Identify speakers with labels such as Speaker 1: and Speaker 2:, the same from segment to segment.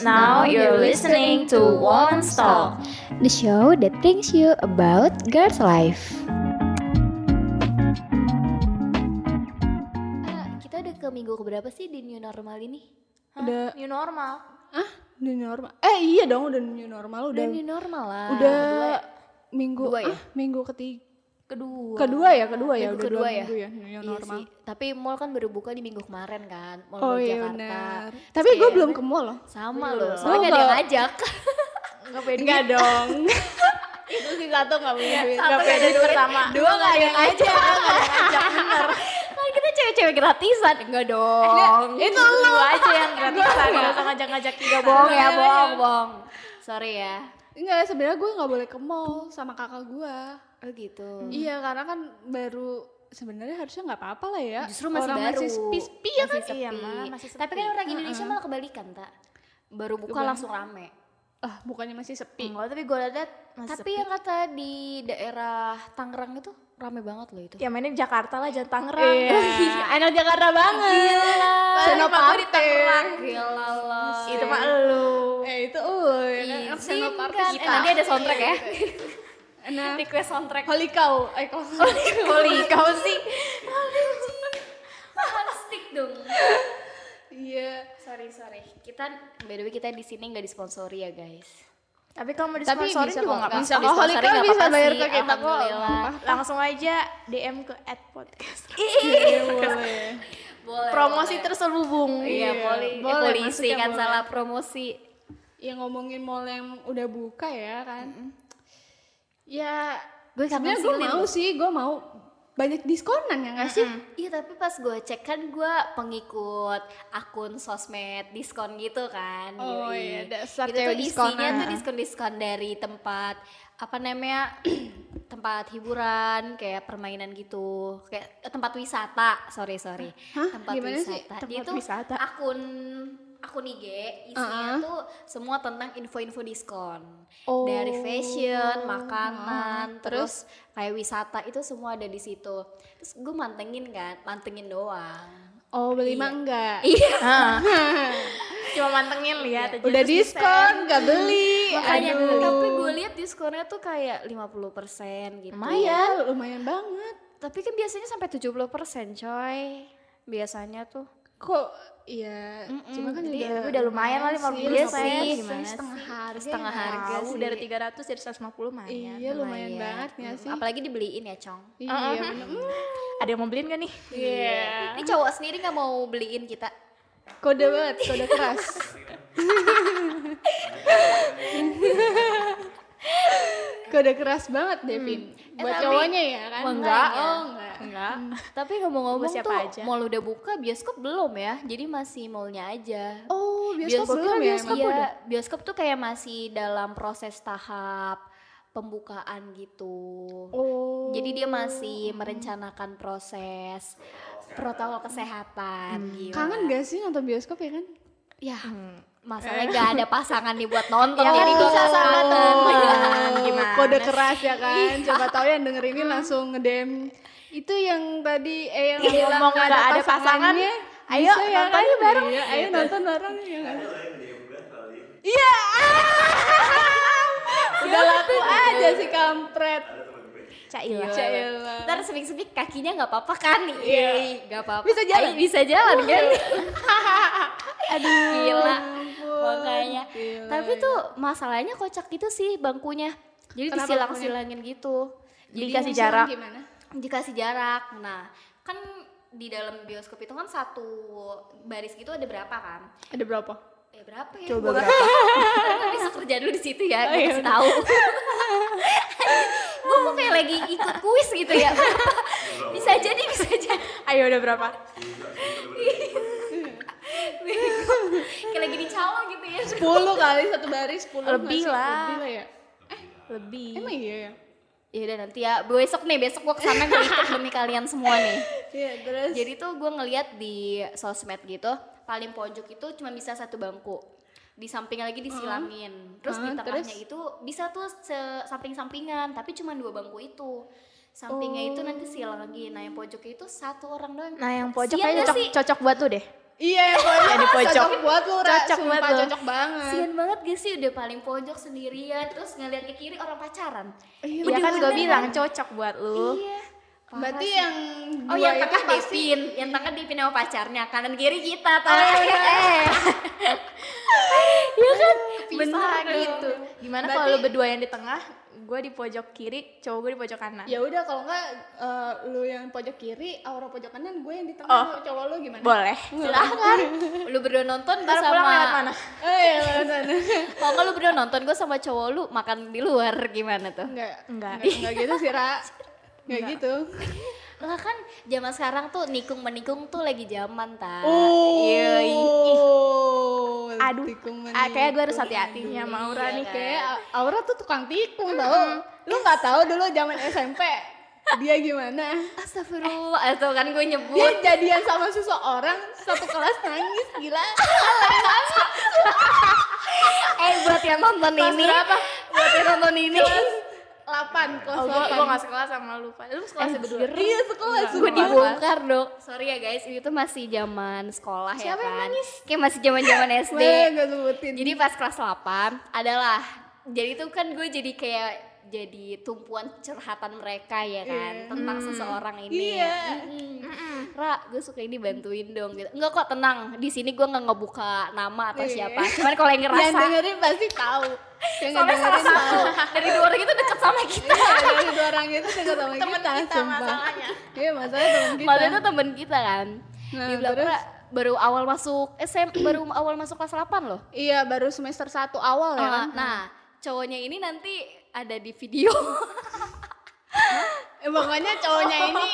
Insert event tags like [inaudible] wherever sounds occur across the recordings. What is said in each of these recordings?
Speaker 1: Now you're listening to One Stop.
Speaker 2: the show that brings you about girls' life. Eh, kita udah ke minggu keberapa sih di new normal ini?
Speaker 1: Hah?
Speaker 3: Udah-
Speaker 1: New normal.
Speaker 3: New normal. Eh iya dong udah new normal udah
Speaker 2: Udah new normal lah.
Speaker 1: Ah,
Speaker 3: udah minggu
Speaker 1: Dua ya?
Speaker 3: ah, minggu ketiga
Speaker 1: Kedua.
Speaker 3: kedua ya kedua
Speaker 1: Minggu
Speaker 3: ya udah
Speaker 1: kedua
Speaker 3: dua
Speaker 1: ya?
Speaker 3: minggu ya new
Speaker 2: Iya
Speaker 3: normal.
Speaker 2: sih. Tapi mall kan baru buka di minggu kemarin kan, mall
Speaker 3: oh
Speaker 2: mall
Speaker 3: iya
Speaker 2: Jakarta.
Speaker 3: benar. Tapi gue belum ke mall loh.
Speaker 2: Sama
Speaker 1: Iya.
Speaker 2: loh, soalnya gak ada yang ngajak.
Speaker 1: Enggak pede.
Speaker 3: Enggak dong.
Speaker 1: [laughs] Itu sih satu enggak punya duit.
Speaker 3: Nggak
Speaker 1: Satu ada
Speaker 3: pede
Speaker 1: duit sama. Dua enggak ada aja.
Speaker 2: kan kita cewek-cewek gratisan. Eh, Enggak dong.
Speaker 1: Itu lu aja yang gratisan, enggak usah ngajak-ngajak juga
Speaker 2: bohong ya, bohong, bohong. Sorry ya.
Speaker 3: Enggak sebenarnya gue nggak boleh ke mall sama kakak gue.
Speaker 2: Oh gitu.
Speaker 3: Iya karena kan baru sebenarnya harusnya nggak apa-apa lah ya.
Speaker 2: Justru masih
Speaker 3: Orang
Speaker 2: baru.
Speaker 3: masih sepi-sepi ya kan.
Speaker 2: Masih sepi.
Speaker 1: Iya, Ma, masih
Speaker 2: Tapi
Speaker 1: sepi.
Speaker 2: kan orang Indonesia malah kebalikan, tak? Baru buka
Speaker 3: Gimana?
Speaker 2: langsung rame.
Speaker 3: Ah bukannya masih
Speaker 2: Hmm.
Speaker 3: sepi.
Speaker 1: Enggak, tapi gue liat masih
Speaker 2: Tapi yang kata di daerah Tangerang itu rame banget loh itu.
Speaker 1: ya mainnya di Jakarta lah, jangan Tangerang. [laughs]
Speaker 3: Iya. Anak Jakarta banget.
Speaker 1: Senopati.
Speaker 2: Gila loh.
Speaker 1: Itu mah elu. [laughs]
Speaker 3: Eh itu uh, ya kan?
Speaker 2: Izinkan.
Speaker 3: Senopati.
Speaker 2: [laughs] Eh, nanti ada soundtrack ya.
Speaker 3: Nah,
Speaker 2: Request soundtrack.
Speaker 3: Holy cow, eh kalau
Speaker 1: Koli kau sih.
Speaker 2: Plastik dong.
Speaker 3: Iya.
Speaker 2: Sorry, sorry. Kita by the way kita di sini nggak disponsori ya, guys.
Speaker 1: Tapi kalau mau
Speaker 3: Tapi
Speaker 1: disponsorin
Speaker 3: bisa
Speaker 1: juga
Speaker 3: kok,
Speaker 1: nggak
Speaker 3: bisa
Speaker 1: apa-apa.
Speaker 3: kok. Holy
Speaker 2: Disponsori
Speaker 3: cow
Speaker 2: nggak
Speaker 3: Oh, bisa
Speaker 2: apa-apa
Speaker 3: bayar
Speaker 2: sih,
Speaker 3: ke kita kok.
Speaker 2: alhamdulillah.
Speaker 1: Langsung aja DM ke @podcast.
Speaker 3: Iya, boleh.
Speaker 2: Boleh.
Speaker 1: Promosi terselubung.
Speaker 2: Iya, poli, eh,
Speaker 3: boleh,
Speaker 2: polisi
Speaker 3: maksudnya
Speaker 2: kan
Speaker 3: boleh.
Speaker 2: salah promosi.
Speaker 3: Ya ngomongin mall yang udah buka ya kan. Ya,
Speaker 2: Gue kangen
Speaker 3: sebenarnya
Speaker 2: Hmm. sih.
Speaker 3: gue
Speaker 2: Lin.
Speaker 3: mau sih, gue mau banyak diskonan ya nggak sih?
Speaker 2: Iya tapi pas gue cek kan gue pengikut akun sosmed diskon gitu kan
Speaker 3: Oh iya,
Speaker 2: yoi.
Speaker 3: dasar
Speaker 2: Itu tuh
Speaker 3: cewek
Speaker 2: isinya
Speaker 3: diskonan.
Speaker 2: tuh diskon-diskon dari tempat apa namanya [clears throat] tempat hiburan kayak permainan gitu kayak eh, tempat wisata sorry sorry
Speaker 3: Hah?
Speaker 2: tempat
Speaker 3: Gimana sih?
Speaker 2: wisata Dia
Speaker 3: Tempat
Speaker 2: tuh
Speaker 3: wisata?
Speaker 2: akun akun IG isinya tuh semua tentang info-info diskon
Speaker 3: Oh.
Speaker 2: dari fashion, makanan,
Speaker 3: Ah,
Speaker 2: Oh. terus kayak wisata itu semua ada di situ. Terus gue mantengin kan, mantengin doang.
Speaker 3: Oh, beli mah enggak?
Speaker 2: [laughs] Iya.
Speaker 1: [laughs] Cuma mantengin lihat aja.
Speaker 3: Udah
Speaker 1: terus
Speaker 3: diskon, nggak beli.
Speaker 2: Makanya
Speaker 3: Aduh.
Speaker 2: tapi gue lihat diskonnya tuh kayak 50% gitu.
Speaker 3: Lumayan, lumayan banget.
Speaker 2: Tapi kan biasanya sampai 70% coy. Biasanya tuh.
Speaker 3: Kok iya,
Speaker 2: Mm-mm,
Speaker 3: cuma kan
Speaker 2: jadi
Speaker 3: udah,
Speaker 1: udah lumayan lah, 50
Speaker 3: lumayan
Speaker 2: Iya
Speaker 1: Terus
Speaker 2: sih,
Speaker 1: saya
Speaker 2: gimana
Speaker 3: setengah
Speaker 2: sih?
Speaker 3: harga
Speaker 2: setengah
Speaker 3: ya.
Speaker 2: harga
Speaker 1: Tahu
Speaker 2: sih.
Speaker 1: dari 300 jadi 150 mah. ya.
Speaker 3: Iya, lumayan banget nggak sih?
Speaker 2: Apalagi dibeliin ya, Cong.
Speaker 3: Iya, bener. Mm,
Speaker 1: Ada yang mau beliin gak nih? Iya.
Speaker 2: Ini cowok sendiri nggak mau beliin kita.
Speaker 3: kode banget, kode keras. [laughs] kode keras banget, Devin.
Speaker 2: Mm. Eh,
Speaker 3: Buat
Speaker 2: tapi-
Speaker 3: cowoknya ya kan?
Speaker 2: Wah, enggak.
Speaker 3: Oh, enggak.
Speaker 1: Enggak.
Speaker 2: Tapi ngomong-ngomong
Speaker 1: Buat siapa
Speaker 2: tuh
Speaker 1: aja?
Speaker 2: mall udah buka, bioskop belum ya. Jadi masih mallnya aja.
Speaker 3: Oh, bioskop belum
Speaker 2: kan
Speaker 3: ya?
Speaker 2: bioskop
Speaker 3: emang?
Speaker 2: udah. Bioskop tuh kayak masih dalam proses tahap pembukaan gitu.
Speaker 3: Oh.
Speaker 2: Jadi dia masih merencanakan proses protokol kesehatan gitu.
Speaker 3: Kangen gak sih nonton bioskop ya kan?
Speaker 2: Ya, masalahnya gak ada pasangan nih buat nonton.
Speaker 1: Ya,
Speaker 2: Jadi
Speaker 1: oh.
Speaker 2: bisa sama temen.
Speaker 1: [laughs]
Speaker 3: Iya,
Speaker 1: Gimana
Speaker 3: Kode keras ya kan? Coba tahu yang denger ini langsung ngedem. Itu yang tadi eh yang
Speaker 1: Iya,
Speaker 3: ngomong
Speaker 1: nggak
Speaker 3: ada,
Speaker 1: ada
Speaker 3: ada pasangannya.
Speaker 1: pasangan, ayo
Speaker 3: bisa ya
Speaker 1: nontonnya
Speaker 3: kan?
Speaker 1: bareng.
Speaker 3: Iya, ayo nonton bareng ya kan?
Speaker 1: Iya.
Speaker 3: [laughs] Udah laku aja si kampret.
Speaker 1: Cailah.
Speaker 3: Cailah.
Speaker 2: Ntar sepik-sepik kakinya gak apa-apa kan? Iya. Gak apa-apa.
Speaker 3: Bisa jalan.
Speaker 2: Ayo, bisa jalan kan? [laughs]
Speaker 3: Aduh.
Speaker 2: Gila.
Speaker 3: ampun.
Speaker 2: Makanya.
Speaker 3: Gila. ya.
Speaker 2: Tapi tuh masalahnya kocak gitu sih bangkunya. Jadi
Speaker 3: Kenapa
Speaker 2: disilang-silangin gitu. Jadi
Speaker 1: Dikasih
Speaker 2: yang-
Speaker 1: jarak.
Speaker 3: Gimana?
Speaker 2: dikasih jarak. Nah, kan di dalam bioskop itu kan satu baris gitu ada berapa kan?
Speaker 3: Ada berapa?
Speaker 2: Eh berapa ya?
Speaker 1: Coba
Speaker 2: Gua nggak
Speaker 1: berapa? Oh, iya,
Speaker 2: tahu. [laughs] Gua bisa kerja dulu di situ ya, gue kasih tahu. [laughs] gue kok kayak lagi ikut kuis gitu ya. bisa jadi, bisa jadi.
Speaker 1: [laughs] Ayo udah berapa?
Speaker 2: Kayak lagi di calon gitu ya.
Speaker 3: 10 kali satu baris 10 nggak
Speaker 1: Lebih
Speaker 3: sih?
Speaker 1: lah.
Speaker 3: Lebih lah ya.
Speaker 1: Lebih.
Speaker 3: Emang iya ya?
Speaker 2: Ya udah nanti ya, besok nih, besok gue kesana gue ikut demi kalian semua nih.
Speaker 3: Iya, terus
Speaker 2: Jadi tuh gue ngeliat di sosmed gitu, paling pojok itu cuma bisa satu bangku. Di sampingnya lagi disilangin. Terus di
Speaker 3: Hmm,
Speaker 2: tengahnya
Speaker 3: terus?
Speaker 2: itu bisa tuh se- samping-sampingan, tapi cuma dua bangku itu. Sampingnya itu nanti silangin. Nah, yang pojoknya itu satu orang doang.
Speaker 1: Oh. Nah yang pojok
Speaker 2: Kasian
Speaker 1: kayaknya
Speaker 2: gak
Speaker 1: cocok,
Speaker 2: sih?
Speaker 1: cocok buat tuh deh.
Speaker 3: Iya, pokoknya
Speaker 1: Yang di pojok.
Speaker 3: cocok buat lu, Ra.
Speaker 1: Cocok
Speaker 3: Sumpah,
Speaker 1: buat lu.
Speaker 3: Cocok banget.
Speaker 2: Sian banget gak sih udah paling pojok sendirian terus ngeliat ke kiri orang pacaran.
Speaker 3: Iya,
Speaker 1: Iya kan
Speaker 2: bener.
Speaker 1: gue bilang cocok buat lu.
Speaker 2: Iya. parah
Speaker 3: Berarti
Speaker 2: sih.
Speaker 3: yang
Speaker 2: Oh
Speaker 3: dua
Speaker 1: iya,
Speaker 2: yang
Speaker 1: ya?
Speaker 3: itu
Speaker 2: tengah
Speaker 3: pasti
Speaker 2: Devin, yang tengah Devin sama pacarnya, kanan kiri kita tau
Speaker 1: Oh,
Speaker 2: ya
Speaker 1: iya.
Speaker 2: kan?
Speaker 1: Iya kan?
Speaker 3: Pisah
Speaker 1: Bener
Speaker 3: dong.
Speaker 1: gitu. Gimana
Speaker 3: Berarti-
Speaker 1: kalau lu berdua yang di tengah, gue di pojok kiri, cowok gue di pojok kanan.
Speaker 3: Ya udah kalau enggak eh, lu yang pojok kiri, Aura pojok kanan, gue yang di tengah.
Speaker 1: Oh.
Speaker 3: Lu- Cowok lu gimana?
Speaker 1: Boleh.
Speaker 2: [laughs] Silahkan. Lu berdua nonton gue
Speaker 1: Ntar pulang lewat
Speaker 2: sama
Speaker 1: mana?
Speaker 3: Eh, iya, lewat
Speaker 1: [laughs]
Speaker 3: sana.
Speaker 2: Kalau nggak lu berdua nonton gue sama cowok lu makan di luar gimana tuh?
Speaker 3: Enggak.
Speaker 1: Enggak.
Speaker 3: Enggak gitu sih, Ra. Enggak gitu.
Speaker 2: Lah kan zaman sekarang tuh nikung menikung tuh lagi zaman ta.
Speaker 1: iya,
Speaker 3: Oh.
Speaker 1: Aduh, ah, kayak gue harus hati-hati
Speaker 3: hatinya
Speaker 1: sama Aura nih.
Speaker 3: Kayak A- Ya, Aura tuh tukang tikung tau. Lu nggak tahu dulu zaman SMP dia gimana?
Speaker 2: Astagfirullah, eh, tuh kan gue
Speaker 3: Dia
Speaker 2: nyebut.
Speaker 3: jadian sama seseorang satu kelas nangis gila.
Speaker 2: eh buat yang nonton
Speaker 3: Kelas
Speaker 2: ini,
Speaker 3: berapa?
Speaker 2: buat yang nonton ini.
Speaker 3: Kelas 8, kelas
Speaker 1: Oh, gue
Speaker 3: 8.
Speaker 1: gue gak sekelas sama lu. Pak. Lu sekelas
Speaker 2: Eh,
Speaker 1: berdua.
Speaker 2: gila.
Speaker 3: Iya, sekelas.
Speaker 2: gue
Speaker 3: sekelas.
Speaker 2: dibongkar dong sorry ya guys itu tuh masih zaman sekolah
Speaker 3: Siapa
Speaker 2: ya
Speaker 3: yang
Speaker 2: kan kayak masih zaman [laughs] zaman SD
Speaker 3: Boleh nggak sebutin.
Speaker 2: jadi pas kelas 8 adalah jadi itu kan gue jadi kayak jadi tumpuan curhatan mereka ya kan tentang seseorang ini
Speaker 3: Iya.
Speaker 2: Mm-mm. Ra, gue suka ini bantuin dong gitu. Enggak kok tenang, di sini gue nggak ngebuka nama atau
Speaker 3: Iya.
Speaker 2: siapa. Cuman kalau yang
Speaker 3: Yang
Speaker 2: ngerasa
Speaker 3: dengerin pasti tahu. Yang nggak
Speaker 2: soalnya salah
Speaker 3: dengerin
Speaker 2: satu [laughs]
Speaker 3: tahu.
Speaker 2: dari dua orang itu deket sama
Speaker 3: [laughs]
Speaker 2: kita.
Speaker 3: Iya, dari dua orang
Speaker 2: [laughs]
Speaker 3: itu dekat sama
Speaker 1: Temen
Speaker 3: kita,
Speaker 1: kita
Speaker 3: sumpah.
Speaker 1: masalahnya.
Speaker 3: Iya, masalahnya temen kita.
Speaker 2: Malah itu temen kita kan.
Speaker 3: Nah,
Speaker 2: Dibilang
Speaker 3: terus?
Speaker 2: "Ra, baru awal masuk SM, baru awal masuk kelas 8 loh.
Speaker 3: Iya, baru semester 1 awal ya kan.
Speaker 2: Uh, nah, cowoknya ini nanti ada di video. [laughs]
Speaker 3: Eh, pokoknya cowoknya ini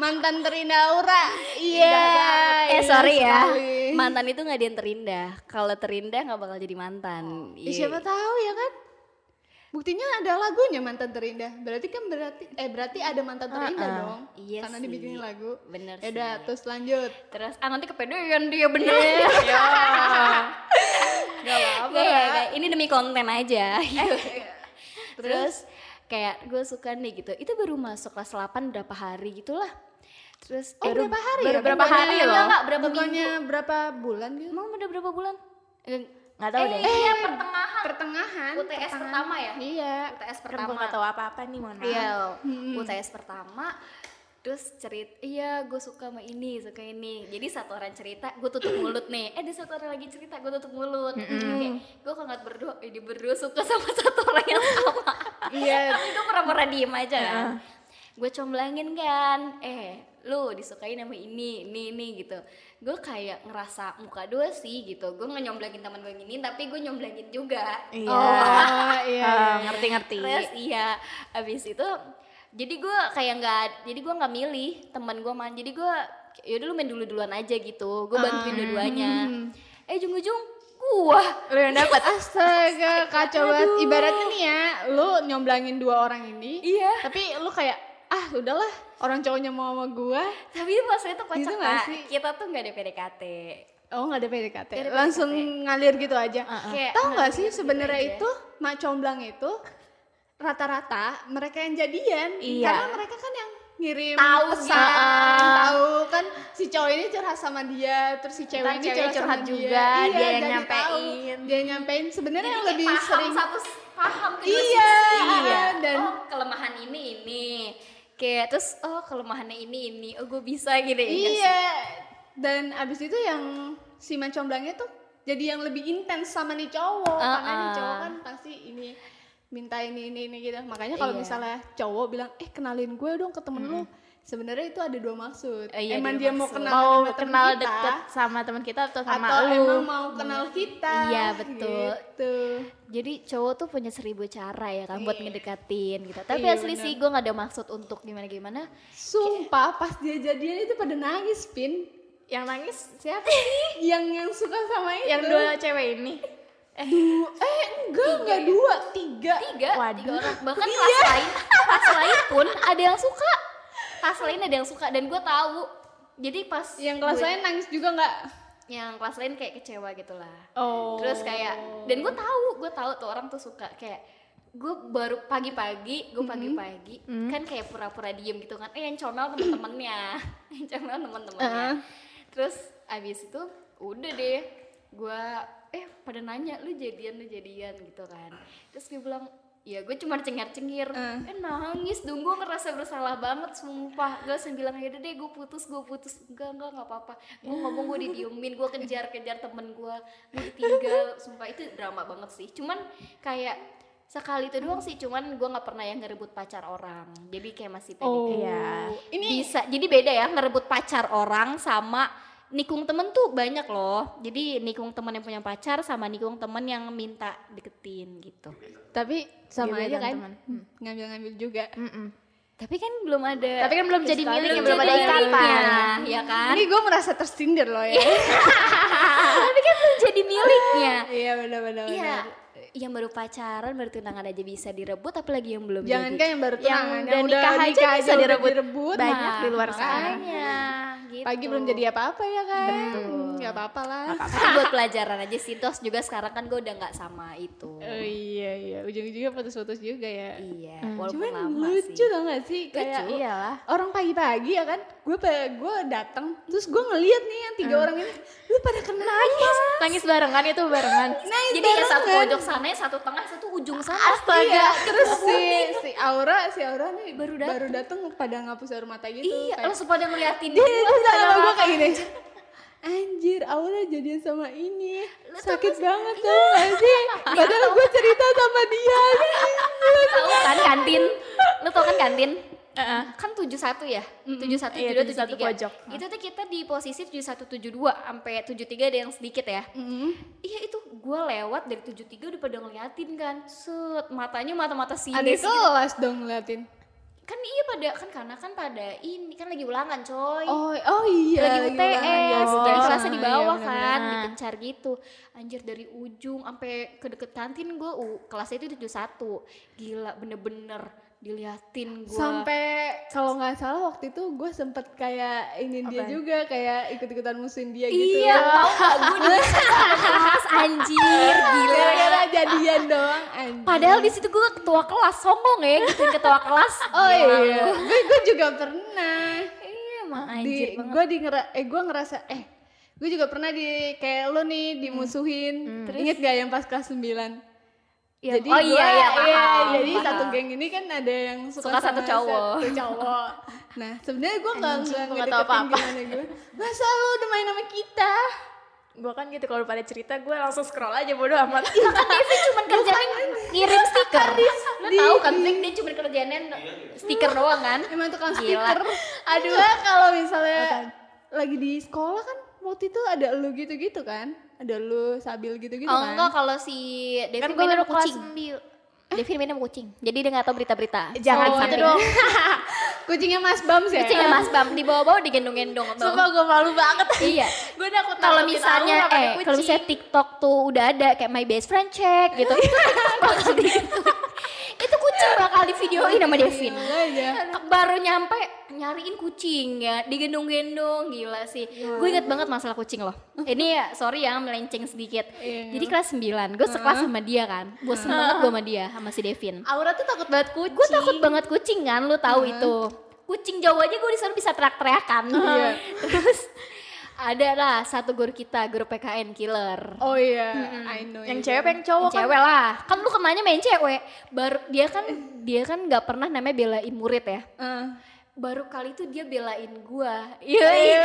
Speaker 3: mantan terindah Aura. Iya.
Speaker 2: eh
Speaker 3: iya
Speaker 2: sorry ya,
Speaker 3: sekali.
Speaker 2: mantan itu nggak ada yang terindah. Kalau terindah nggak bakal jadi mantan.
Speaker 3: Ya,
Speaker 2: Iya.
Speaker 3: siapa tahu ya kan? Buktinya ada lagunya mantan terindah. Berarti kan berarti eh berarti ada mantan terindah
Speaker 2: Uh-uh.
Speaker 3: dong.
Speaker 2: Iya
Speaker 3: Karena
Speaker 2: sih.
Speaker 3: dibikinin lagu.
Speaker 2: Bener
Speaker 3: Ya udah,
Speaker 2: sih.
Speaker 3: terus lanjut.
Speaker 2: Terus ah nanti kepedean dia bener. [laughs]
Speaker 3: Gak apa-apa.
Speaker 2: Iya. Nggak, nggak, nggak. ini demi konten aja. Eh, iya. Terus kayak gue suka nih gitu. Itu baru masuk kelas 8 berapa hari gitulah. Terus
Speaker 3: Oh,
Speaker 2: baru-
Speaker 3: berapa hari
Speaker 2: baru
Speaker 3: ya?
Speaker 2: berapa
Speaker 3: Bukannya-
Speaker 2: hari
Speaker 3: enggak,
Speaker 2: loh?
Speaker 3: enggak, berapa Bukannya berapa bulan gitu?
Speaker 2: Emang udah berapa bulan?
Speaker 1: Gak tau deh. Kan
Speaker 2: iya pertengahan.
Speaker 3: Pertengahan.
Speaker 2: UTS pertama ya?
Speaker 3: Iya.
Speaker 2: UTS
Speaker 1: Pertama. Gue
Speaker 2: pertama.
Speaker 1: gak tau apa-apa nih, mohon maaf.
Speaker 2: Iya, UTS pertama. Terus cerita, iya gue suka sama ini, suka ini. Jadi satu orang cerita, gue tutup mulut nih. Eh ada satu orang lagi cerita, gue tutup mulut. gue kangen berdua, eh, dia berdua suka sama [laughs] satu orang yang sama.
Speaker 3: Iya.
Speaker 2: [laughs] Tapi gue pura-pura diem aja kan. Gue comblangin kan, eh lu disukain sama ini, ini, ini gitu. Gue kayak ngerasa muka dua sih gitu. Gue nggak nyomblangin teman gue gini, tapi gue nyomblangin juga.
Speaker 1: Iya.
Speaker 3: Oh, iya.
Speaker 1: [laughs] Eh, Ngerti-ngerti.
Speaker 2: Terus iya, abis itu jadi gue kayak nggak, jadi gue nggak milih teman gue main, jadi gue yaudah lu main dulu duluan aja gitu, gue bantuin
Speaker 3: Ah.
Speaker 2: dua-duanya.
Speaker 3: Hmm.
Speaker 2: Eh ujung-ujung gue,
Speaker 1: Lu
Speaker 3: ya?
Speaker 1: yang dapet.
Speaker 3: Astaga, kacau banget. Ibaratnya nih ya, lu nyomblangin dua orang ini.
Speaker 2: Iya.
Speaker 3: Tapi lu kayak, ah udahlah orang cowoknya mau sama gua.
Speaker 2: tapi pas itu kocak
Speaker 3: Gitu nggak
Speaker 2: Kak.
Speaker 3: sih?
Speaker 2: kita tuh nggak ada PDKT.
Speaker 3: Oh nggak ada PDKT.
Speaker 2: Nggak ada
Speaker 3: Langsung ngalir gitu aja.
Speaker 2: Kayak
Speaker 3: Tahu nggak
Speaker 2: ngalir
Speaker 3: sih
Speaker 2: gitu
Speaker 3: sebenarnya
Speaker 2: aja.
Speaker 3: itu mak comblang itu rata-rata mereka yang jadian
Speaker 1: Iya.
Speaker 3: karena mereka kan yang ngirim
Speaker 2: Tahu
Speaker 3: pesan,
Speaker 1: kan.
Speaker 3: tahu kan si cowok ini curhat sama dia, terus si cewek
Speaker 1: Ntar
Speaker 3: ini
Speaker 1: cewek
Speaker 3: curhat,
Speaker 1: curhat
Speaker 3: sama
Speaker 1: juga,
Speaker 3: dia, Iya,
Speaker 1: dia yang
Speaker 3: jadi tahu.
Speaker 1: nyampein.
Speaker 3: dia yang nyampein. Sebenarnya
Speaker 2: Jadi
Speaker 3: yang
Speaker 2: kayak
Speaker 3: lebih
Speaker 2: paham
Speaker 3: sering
Speaker 2: satu paham kedua
Speaker 3: Iya,
Speaker 2: sisi. Ah,
Speaker 3: iya, dan-
Speaker 2: oh kelemahan ini ini, kayak terus oh kelemahannya ini ini, oh gue bisa gitu. ya nggak sih?
Speaker 3: Iya. Dan abis itu yang si mencomblangnya tuh jadi yang lebih intens sama nih cowok.
Speaker 2: Ah,
Speaker 3: Karena nih
Speaker 2: ah.
Speaker 3: cowok kan pasti ini minta ini ini ini gitu. Makanya kalau
Speaker 2: Iya.
Speaker 3: misalnya cowok bilang, "Eh, kenalin gue dong ke temen lu." Sebenarnya itu ada dua maksud.
Speaker 2: Eh, iya, dua
Speaker 3: emang dia mau
Speaker 2: maksud.
Speaker 3: kenal
Speaker 1: Mau
Speaker 3: sama temen
Speaker 1: kenal
Speaker 3: kita,
Speaker 1: deket sama teman kita atau sama
Speaker 3: atau
Speaker 1: lu.
Speaker 3: emang mau kenal kita.
Speaker 2: Iya, betul.
Speaker 3: Gitu.
Speaker 2: Jadi cowok tuh punya seribu cara ya kan buat
Speaker 3: Iya.
Speaker 2: ngedekatin gitu. Tapi
Speaker 3: Iya,
Speaker 2: asli
Speaker 3: bener.
Speaker 2: sih gue gak ada maksud untuk gimana-gimana.
Speaker 3: Sumpah pas dia jadian itu pada nangis, Pin.
Speaker 1: Yang nangis siapa sih?
Speaker 3: Yang yang suka sama itu.
Speaker 1: Yang dua cewek ini.
Speaker 3: Dua- eh enggak, enggak
Speaker 2: ya?
Speaker 3: dua, tiga. [laughs]
Speaker 2: Tiga, tiga
Speaker 1: Waduh.
Speaker 2: orang. Bahkan
Speaker 3: Iya.
Speaker 2: kelas lain, kelas lain pun ada yang suka. Kelas lain ada yang suka dan gue tahu. Jadi pas
Speaker 3: Yang kelas
Speaker 2: gue-
Speaker 3: lain nangis juga nggak?
Speaker 2: yang kelas lain kayak kecewa gitu lah.
Speaker 3: Oh.
Speaker 2: Terus kayak dan gue tahu, gue tahu tuh orang tuh suka kayak gue baru pagi-pagi,
Speaker 3: Mm-hmm.
Speaker 2: gue pagi-pagi [laughs]
Speaker 3: Ah.
Speaker 2: kan kayak pura-pura diem gitu kan. Eh yang comel temen-temennya, yang comel temen-temennya. terus abis itu udah deh gue eh pada nanya lu jadian lu jadian gitu kan terus gue bilang ya gue cuma cengir-cengir eh nangis dong gue ngerasa bersalah banget sumpah gue sembilan yaudah "Ya deh gue putus gue putus enggak enggak nggak apa-apa gue ngomong gue didiemin gue kejar-kejar temen gue gue ditinggal sumpah itu drama banget sih cuman kayak sekali itu doang sih cuman gue nggak pernah yang ngerebut pacar orang jadi kayak masih pengen
Speaker 3: Oh,
Speaker 1: Iya.
Speaker 3: ini
Speaker 2: bisa jadi beda ya ngerebut pacar orang sama nikung temen tuh banyak loh jadi nikung temen yang punya pacar sama nikung temen yang minta deketin gitu
Speaker 3: tapi sama
Speaker 1: Gebetan
Speaker 3: aja kan
Speaker 1: teman. Hmm.
Speaker 3: ngambil-ngambil juga.
Speaker 1: Mm-mm.
Speaker 2: tapi kan belum ada
Speaker 1: Tapi kan belum jadi milik, belum
Speaker 2: Belum jadi
Speaker 1: ada ikatan.
Speaker 2: miliknya, ya kan Iya.
Speaker 3: Ini gue merasa tersindir loh ya.
Speaker 2: tapi kan belum jadi miliknya [laughs]
Speaker 3: Iya benar-benar.
Speaker 2: iya yang baru pacaran baru tunangan aja bisa direbut apalagi yang belum
Speaker 3: Jangan
Speaker 2: jadi.
Speaker 3: kan yang baru tunangan,
Speaker 2: yang udah nikah, aja bisa
Speaker 3: udah
Speaker 2: direbut,
Speaker 3: direbut.
Speaker 1: Banyak di luar sana.
Speaker 2: makanya, gitu.
Speaker 3: Pagi belum jadi apa-apa ya kan? Gak apa-apa lah.
Speaker 2: Tapi Nah, kan buat pelajaran aja sih tos juga sekarang kan gue udah nggak sama itu
Speaker 3: Oh iya iya, ujung-ujungnya putus-putus juga ya.
Speaker 2: iya
Speaker 1: Hmm.
Speaker 2: walaupun
Speaker 3: Cuman
Speaker 2: lama sih
Speaker 3: lucu
Speaker 2: iya.
Speaker 3: tau gak sih kayak
Speaker 1: Lucu.
Speaker 2: Ah.
Speaker 1: Iyalah.
Speaker 3: orang pagi-pagi ya kan gue gue datang terus gue ngeliat nih yang
Speaker 2: Hmm.
Speaker 3: tiga orang ini lu pada Nah, kenapa
Speaker 1: Nangis barengan Nah, itu barengan.
Speaker 3: Nangis
Speaker 2: Jadi yang satu
Speaker 3: barengan.
Speaker 2: pojok sana, yang satu tengah, satu ujung sana.
Speaker 3: kan? Iya, terus si si Aura si Aura nih
Speaker 2: Baru
Speaker 3: baru
Speaker 2: dateng.
Speaker 3: datang pada ngapus air mata gitu
Speaker 2: Iya,
Speaker 3: kayak,
Speaker 2: langsung pada ngeliatin
Speaker 1: Iya,
Speaker 3: dia
Speaker 2: gue.
Speaker 3: dia sama gue kayak gini anjir Aura jadian sama ini sakit banget
Speaker 2: Iya.
Speaker 3: tau gak
Speaker 2: [laughs]
Speaker 3: sih padahal gue cerita sama dia
Speaker 2: Tahu kan kantin? Lu tau kan kantin? Kan 71 ya? 71,
Speaker 1: Iya,
Speaker 2: 72,
Speaker 1: 71
Speaker 2: 73.
Speaker 1: pojok.
Speaker 2: Itu tuh kita di posisi 71, 72 sampai 73 ada yang sedikit ya. Iya itu gue lewat dari 73 udah pada ngeliatin kan. Set, matanya mata-mata sinis.
Speaker 3: ada
Speaker 2: gitu.
Speaker 3: kelas dong ngeliatin
Speaker 2: Kan iya pada kan karena kan pada ini kan lagi ulangan, coy.
Speaker 3: oh oh iya
Speaker 2: lagi
Speaker 3: ulangan, iya,
Speaker 2: UTS,
Speaker 3: bener.
Speaker 2: jadi kelasnya di
Speaker 3: Iya,
Speaker 2: bawah
Speaker 3: bener-bener.
Speaker 2: kan,
Speaker 1: benar.
Speaker 2: dikencar gitu. Anjir dari ujung sampai ke deket kantin gue, kelasnya itu 71. Gila bener-bener diliatin gue.
Speaker 3: sampai kalau nggak salah waktu itu gue sempet kayak ini dia
Speaker 1: Apaan?
Speaker 3: juga kayak ikut-ikutan musim dia gitu
Speaker 2: Iya, tau gak
Speaker 3: [laughs]
Speaker 2: gue di kelas anjir, gila.
Speaker 3: gara-gara jadian doang anjir
Speaker 2: [laughs] Padahal di situ gue ketua kelas, sombong ya gituin ketua kelas.
Speaker 3: [laughs] oh
Speaker 2: Gila.
Speaker 3: iya gue gue juga pernah
Speaker 2: Iya, emang
Speaker 3: di
Speaker 2: anjir banget.
Speaker 3: gue di ngera- eh gue ngerasa eh gue juga pernah di kayak lo nih dimusuhin inget gak yang pas kelas 9
Speaker 2: Iya.
Speaker 3: Jadi
Speaker 2: oh iya,
Speaker 3: gua-
Speaker 2: iya, paham,
Speaker 3: jadi
Speaker 2: paham.
Speaker 3: satu geng ini kan ada yang suka,
Speaker 2: Suka satu
Speaker 3: sama
Speaker 2: cowok.
Speaker 1: Oh,
Speaker 3: satu
Speaker 1: ya
Speaker 3: cowok. Nah sebenarnya gue nggak
Speaker 1: Anjing,
Speaker 3: nggak
Speaker 1: gua nggak tahu
Speaker 3: ngedeketin
Speaker 1: apa-apa.
Speaker 3: gimana gue. Masa lu udah main sama kita?
Speaker 1: Gue kan gitu kalau pada cerita gue langsung scroll aja bodo amat.
Speaker 2: kan Kevin cuma kerjain ngirim stiker lo
Speaker 3: di-
Speaker 2: tau kan Vic dia cuma kerjainnya stiker doang kan
Speaker 3: Emang tukang
Speaker 2: Gila.
Speaker 3: stiker. Aduh. Enggak, kalau misalnya lagi di sekolah kan waktu itu ada lu gitu-gitu kan? Ada lu sabil gitu-gitu
Speaker 2: oh
Speaker 3: kan?
Speaker 2: enggak kalau si
Speaker 1: Gitu
Speaker 2: Devin
Speaker 1: Kan gue
Speaker 2: mainnya
Speaker 1: baru
Speaker 2: sama
Speaker 1: kelas
Speaker 2: kucing Devin mainnya sama kucing jadi dia gak tau berita-berita
Speaker 1: Eh, Jangan
Speaker 2: Oh,
Speaker 1: sampai.
Speaker 2: itu dong
Speaker 3: [laughs] Kucingnya Mas Bams ya?
Speaker 2: kucingnya Mas Bam dibawa-bawa digendong-gendong Bam.
Speaker 1: Sumpah gue malu banget.
Speaker 2: iya
Speaker 1: gue takut
Speaker 2: kalau
Speaker 1: nakutin
Speaker 2: misalnya
Speaker 1: Aura pakai
Speaker 2: eh kalau
Speaker 1: kucing.
Speaker 2: misalnya TikTok tuh udah ada kayak my best friend check
Speaker 1: [laughs]
Speaker 2: gitu itu TikTok bakal gitu [laughs] itu kucing bakal di
Speaker 3: Oh, iya,
Speaker 2: videoin sama
Speaker 1: Iya,
Speaker 2: Devin
Speaker 3: Enggak aja.
Speaker 2: Iya, baru nyampe nyariin kucing ya digendong-gendong gila sih gue inget banget masalah kucing loh ini ya sorry ya melenceng sedikit
Speaker 3: Iya.
Speaker 2: jadi kelas 9 gue sekelas sama dia kan bosen banget gue sama dia sama si Devin
Speaker 1: Aura tuh takut banget kucing.
Speaker 2: gue takut banget kucing kan lu tahu itu kucing jauh aja gue disuruh bisa teriak-teriakan
Speaker 3: Iya.
Speaker 2: [laughs] terus ada lah satu guru kita guru PKN killer
Speaker 3: Oh iya, I know.
Speaker 1: Yang
Speaker 3: itu.
Speaker 1: cewek pengen cowok kan.
Speaker 2: cewek lah kan lu kenanya main cewek baru dia kan dia kan nggak pernah namanya belain murid ya
Speaker 3: Eh.
Speaker 2: baru kali itu dia belain gua iya iya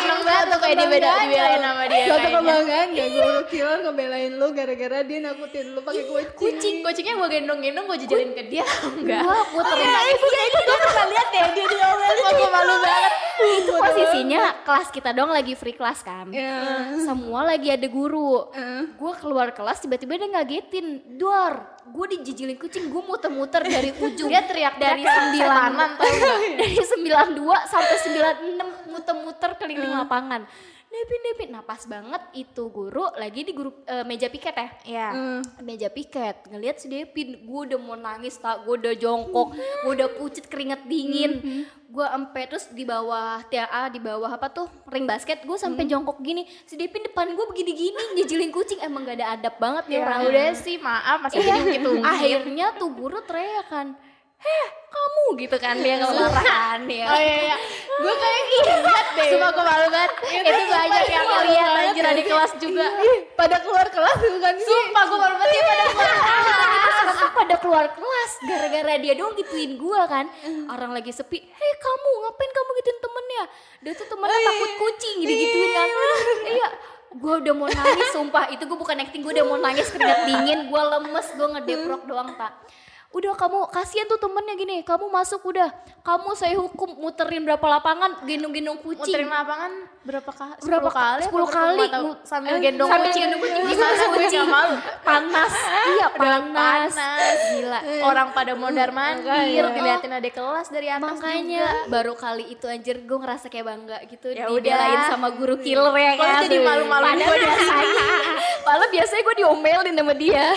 Speaker 1: Seneng banget tuh kayak dibeda
Speaker 3: Kebanggaan
Speaker 1: dibelain
Speaker 3: lu.
Speaker 1: sama dia
Speaker 3: Suatu
Speaker 1: kayaknya.
Speaker 3: kebanggaan ya, guru killer ngebelain lu gara-gara dia nakutin lu pakai kucing.
Speaker 1: Kucing, kucingnya gue gendong-gendong gue jejelin ke dia enggak.
Speaker 2: gua puterin lagi.
Speaker 1: iya,
Speaker 3: Gue pernah lihat ya, dia diomelin. Gue malu banget. Itu
Speaker 2: posisinya kelas kita doang lagi free kelas kan
Speaker 3: Iya.
Speaker 2: semua lagi ada guru
Speaker 3: Eh.
Speaker 2: gua keluar kelas tiba-tiba dia ngagetin dor gua dijijilin kucing gua muter-muter dari ujung
Speaker 1: Dia teriak
Speaker 2: dari sembilan [laughs] dari sembilan dua sampai sembilan enam muter-muter keliling lapangan Devin Devin nah pas banget itu guru lagi di guru eh, meja piket ya
Speaker 1: Iya.
Speaker 3: Eh.
Speaker 2: meja piket ngelihat si Devin gue udah mau nangis tak gue udah jongkok gue udah pucet keringet dingin gue sampai terus di bawah TAA di bawah apa tuh ring basket gue sampai jongkok gini si Devin depan gue begini gini ngejilin kucing emang gak ada adab banget nih
Speaker 1: Ya [laughs]
Speaker 2: orang
Speaker 1: udah sih maaf masih jadi gitu.
Speaker 2: akhirnya tuh guru teriak kan heh kamu gitu kan dia kalau marah kan ya
Speaker 3: Oh iya iya. Gue kayak ingat deh.
Speaker 1: Iya.
Speaker 3: Iya,
Speaker 1: Sumpah gue malu banget. Itu banyak yang
Speaker 3: malu
Speaker 1: lihat
Speaker 3: banget
Speaker 1: anjir di kelas juga.
Speaker 3: Ih, Iya, pada keluar kelas bukan sih?
Speaker 1: Sumpah gue malu banget dia pada keluar.
Speaker 2: Terus aku pada keluar kelas gara-gara dia doang gituin gua kan orang lagi sepi hei kamu ngapain kamu gituin temennya dia tuh temennya
Speaker 3: Oh, iya,
Speaker 2: takut
Speaker 3: iya.
Speaker 2: kucing digituin kan iya gua udah mau nangis sumpah itu gua bukan acting gua udah mau nangis keringat dingin gua lemes gua ngedeprok doang pak udah kamu kasihan tuh temennya gini kamu masuk udah kamu saya hukum muterin berapa lapangan gendong-gendong
Speaker 1: Mau
Speaker 2: kucing
Speaker 1: terima lapangan berapa kali?
Speaker 2: Berapa
Speaker 1: Berapa kali?
Speaker 2: sepuluh
Speaker 1: apa berapa?
Speaker 2: kali.
Speaker 1: Nggak tahu.
Speaker 2: Ngu-
Speaker 1: sambil
Speaker 2: eh,
Speaker 1: gendong
Speaker 2: sambil
Speaker 1: kucing.
Speaker 2: gendong kucing.
Speaker 1: Gimana gue
Speaker 2: Kucing.
Speaker 1: gak malu.
Speaker 2: panas iya
Speaker 1: Udah
Speaker 2: panas
Speaker 1: Gila. Orang pada mondar mandir,
Speaker 2: Makanya.
Speaker 1: ngeliatin adik kelas dari atas
Speaker 2: Makanya
Speaker 1: juga.
Speaker 2: baru kali itu anjir gue ngerasa kayak bangga gitu
Speaker 1: Ya
Speaker 2: dibelain
Speaker 1: udah.
Speaker 2: sama guru killer ya
Speaker 1: Kok lu
Speaker 2: kan.
Speaker 1: jadi
Speaker 2: [laughs]
Speaker 1: malu-maluin
Speaker 2: Padahal
Speaker 1: gua di
Speaker 2: biasanya, padahal biasanya gue diomelin sama dia. [laughs]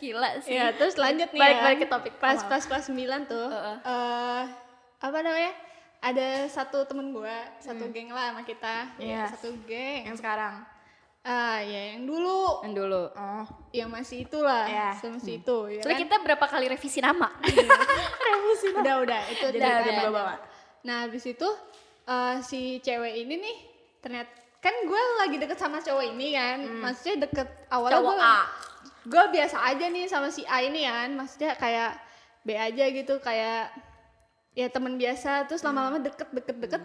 Speaker 2: Gila sih.
Speaker 3: Ya, terus lanjut nih.
Speaker 1: Balik-balik
Speaker 3: ya.
Speaker 1: ke topik.
Speaker 3: Pas
Speaker 1: Apa?
Speaker 3: pas pas 9 tuh.
Speaker 2: Heeh.
Speaker 3: eh, apa namanya? Ada satu temen gua, satu geng lah sama
Speaker 1: Hmm.
Speaker 3: kita.
Speaker 1: Iya.
Speaker 3: Satu geng.
Speaker 1: Yang sekarang.
Speaker 3: Ah, ya yang dulu
Speaker 2: Yang dulu.
Speaker 1: Oh.
Speaker 3: yang masih itulah,
Speaker 1: Iya.
Speaker 3: sama si itu ya.
Speaker 2: Soalnya
Speaker 3: kan?
Speaker 2: kita berapa kali revisi nama? gitu
Speaker 3: udah udah itu
Speaker 1: Jadi
Speaker 3: udah,
Speaker 1: udah
Speaker 3: udah.
Speaker 1: dibawa-bawa.
Speaker 3: nah habis itu eh, si cewek ini nih ternyata kan gue lagi deket sama cowok ini kan maksudnya deket awalnya
Speaker 2: Hmm. Cowok
Speaker 3: gue
Speaker 2: A.
Speaker 3: gue biasa aja nih sama si A ini kan maksudnya kayak B aja gitu kayak ya temen biasa terus lama-lama deket deket deket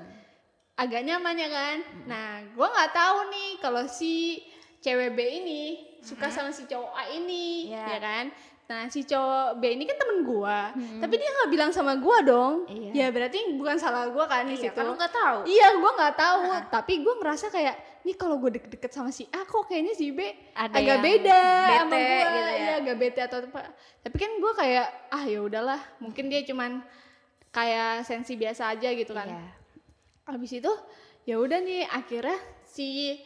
Speaker 3: agak nyaman ya kan nah gue nggak tahu nih kalau si cewek B ini suka sama si cowok A ini
Speaker 1: Iya.
Speaker 3: ya kan nah si cowok B ini kan temen gue tapi dia nggak bilang sama gue dong
Speaker 1: Hmm. Iya.
Speaker 3: ya berarti bukan salah gue kan di
Speaker 1: Iya,
Speaker 3: situ
Speaker 1: kan lu nggak tahu.
Speaker 3: iya gue nggak tahu tapi gue ngerasa kayak nih kalau gue deket-deket sama si A kok kayaknya si B
Speaker 2: Ada
Speaker 3: agak
Speaker 2: yang
Speaker 3: beda sama
Speaker 1: bete
Speaker 3: gue
Speaker 1: gitu ya.
Speaker 3: Iya, agak bete atau apa tapi kan gue kayak ah ya udahlah mungkin dia cuman kayak sensi biasa aja gitu kan
Speaker 1: Iya.
Speaker 3: habis itu ya udah nih akhirnya si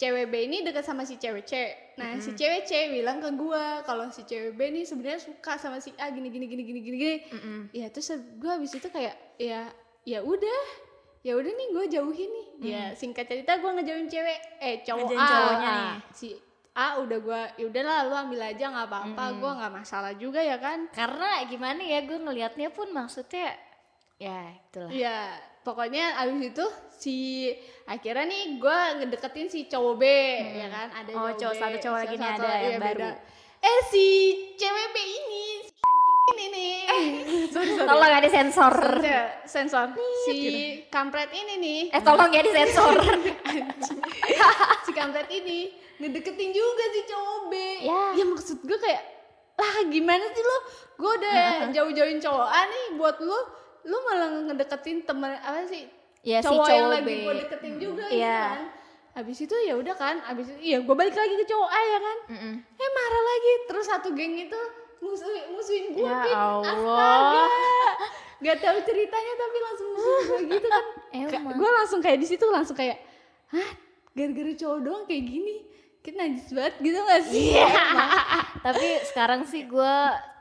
Speaker 3: cewek B ini dekat sama si cewek C. Nah, si cewek C bilang ke gua kalau si cewek B ini sebenarnya suka sama si A gini gini gini gini gini gini.
Speaker 1: Mm-mm.
Speaker 3: Ya terus gua habis itu kayak ya ya udah. Ya udah nih gua jauhin nih. Ya singkat cerita gua ngejauhin cewek eh cowok
Speaker 1: Hmm. Ngejauhin
Speaker 3: A.
Speaker 1: cowoknya nih.
Speaker 3: Si A udah gua ya udahlah lu ambil aja nggak apa-apa,
Speaker 1: Hmm.
Speaker 3: gua nggak masalah juga ya kan.
Speaker 2: Karena gimana ya gue ngelihatnya pun maksudnya ya itulah.
Speaker 3: Iya, pokoknya abis itu si akhirnya nih gue ngedeketin si cowok B, ya kan? Ada
Speaker 1: Oh, cowok
Speaker 3: B,
Speaker 1: satu cowok lagi nih
Speaker 3: satu-
Speaker 1: ada
Speaker 3: iya,
Speaker 1: yang baru.
Speaker 3: Eh si cewek B ini, si anjing ini nih.
Speaker 1: Eh, [laughs]
Speaker 3: sorry
Speaker 2: Tolong ya disensor.
Speaker 3: Sensor, sensor.
Speaker 1: Iya,
Speaker 3: Si kampret ini nih,
Speaker 2: Eh tolong ya disensor.
Speaker 3: si kampret ini ngedeketin juga si cowok B.
Speaker 2: Ya.
Speaker 3: Ya maksud gue kayak lah gimana sih lo? Gue udah jauh-jauhin cowok A nih buat lo, lo malah ngedeketin temen apa sih?
Speaker 2: ya si
Speaker 3: cowok, yang
Speaker 2: cowok
Speaker 3: lagi gue
Speaker 2: B.
Speaker 3: deketin juga
Speaker 1: Iya.
Speaker 3: ya kan habis itu ya udah kan habis itu iya gue balik lagi ke cowok A ya kan
Speaker 1: Mm-mm.
Speaker 3: eh marah lagi terus satu geng itu musuhin musuhin gue
Speaker 1: Ya
Speaker 3: Pin.
Speaker 1: Allah.
Speaker 3: astaga gak tahu ceritanya tapi langsung musuhin gue gitu kan
Speaker 2: Emang.
Speaker 3: gue langsung kayak di situ langsung kayak hah gara-gara cowok doang kayak gini kita najis banget gitu gak sih [laughs]
Speaker 2: tapi sekarang sih gue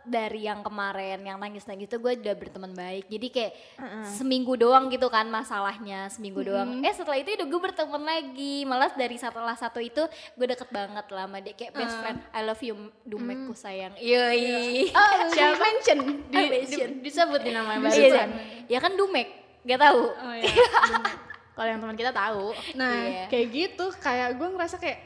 Speaker 2: dari yang kemarin yang nangis nangis itu gue udah berteman baik jadi kayak seminggu doang gitu kan masalahnya seminggu doang eh setelah itu udah gue berteman lagi malas dari setelah satu itu gue deket banget lah sama dia kayak best friend I love you
Speaker 1: Mm.
Speaker 2: Dumekku sayang
Speaker 1: Iya,
Speaker 2: yoi
Speaker 3: oh, siapa mention
Speaker 1: Di, di, disebutin namanya
Speaker 2: Iya,
Speaker 1: barusan.
Speaker 2: kan? ya kan Dumek gak tahu
Speaker 1: Mm.
Speaker 3: oh ya
Speaker 1: Kalau yang teman kita tahu.
Speaker 3: [laughs] nah
Speaker 2: Iya.
Speaker 3: kayak gitu kayak gue ngerasa kayak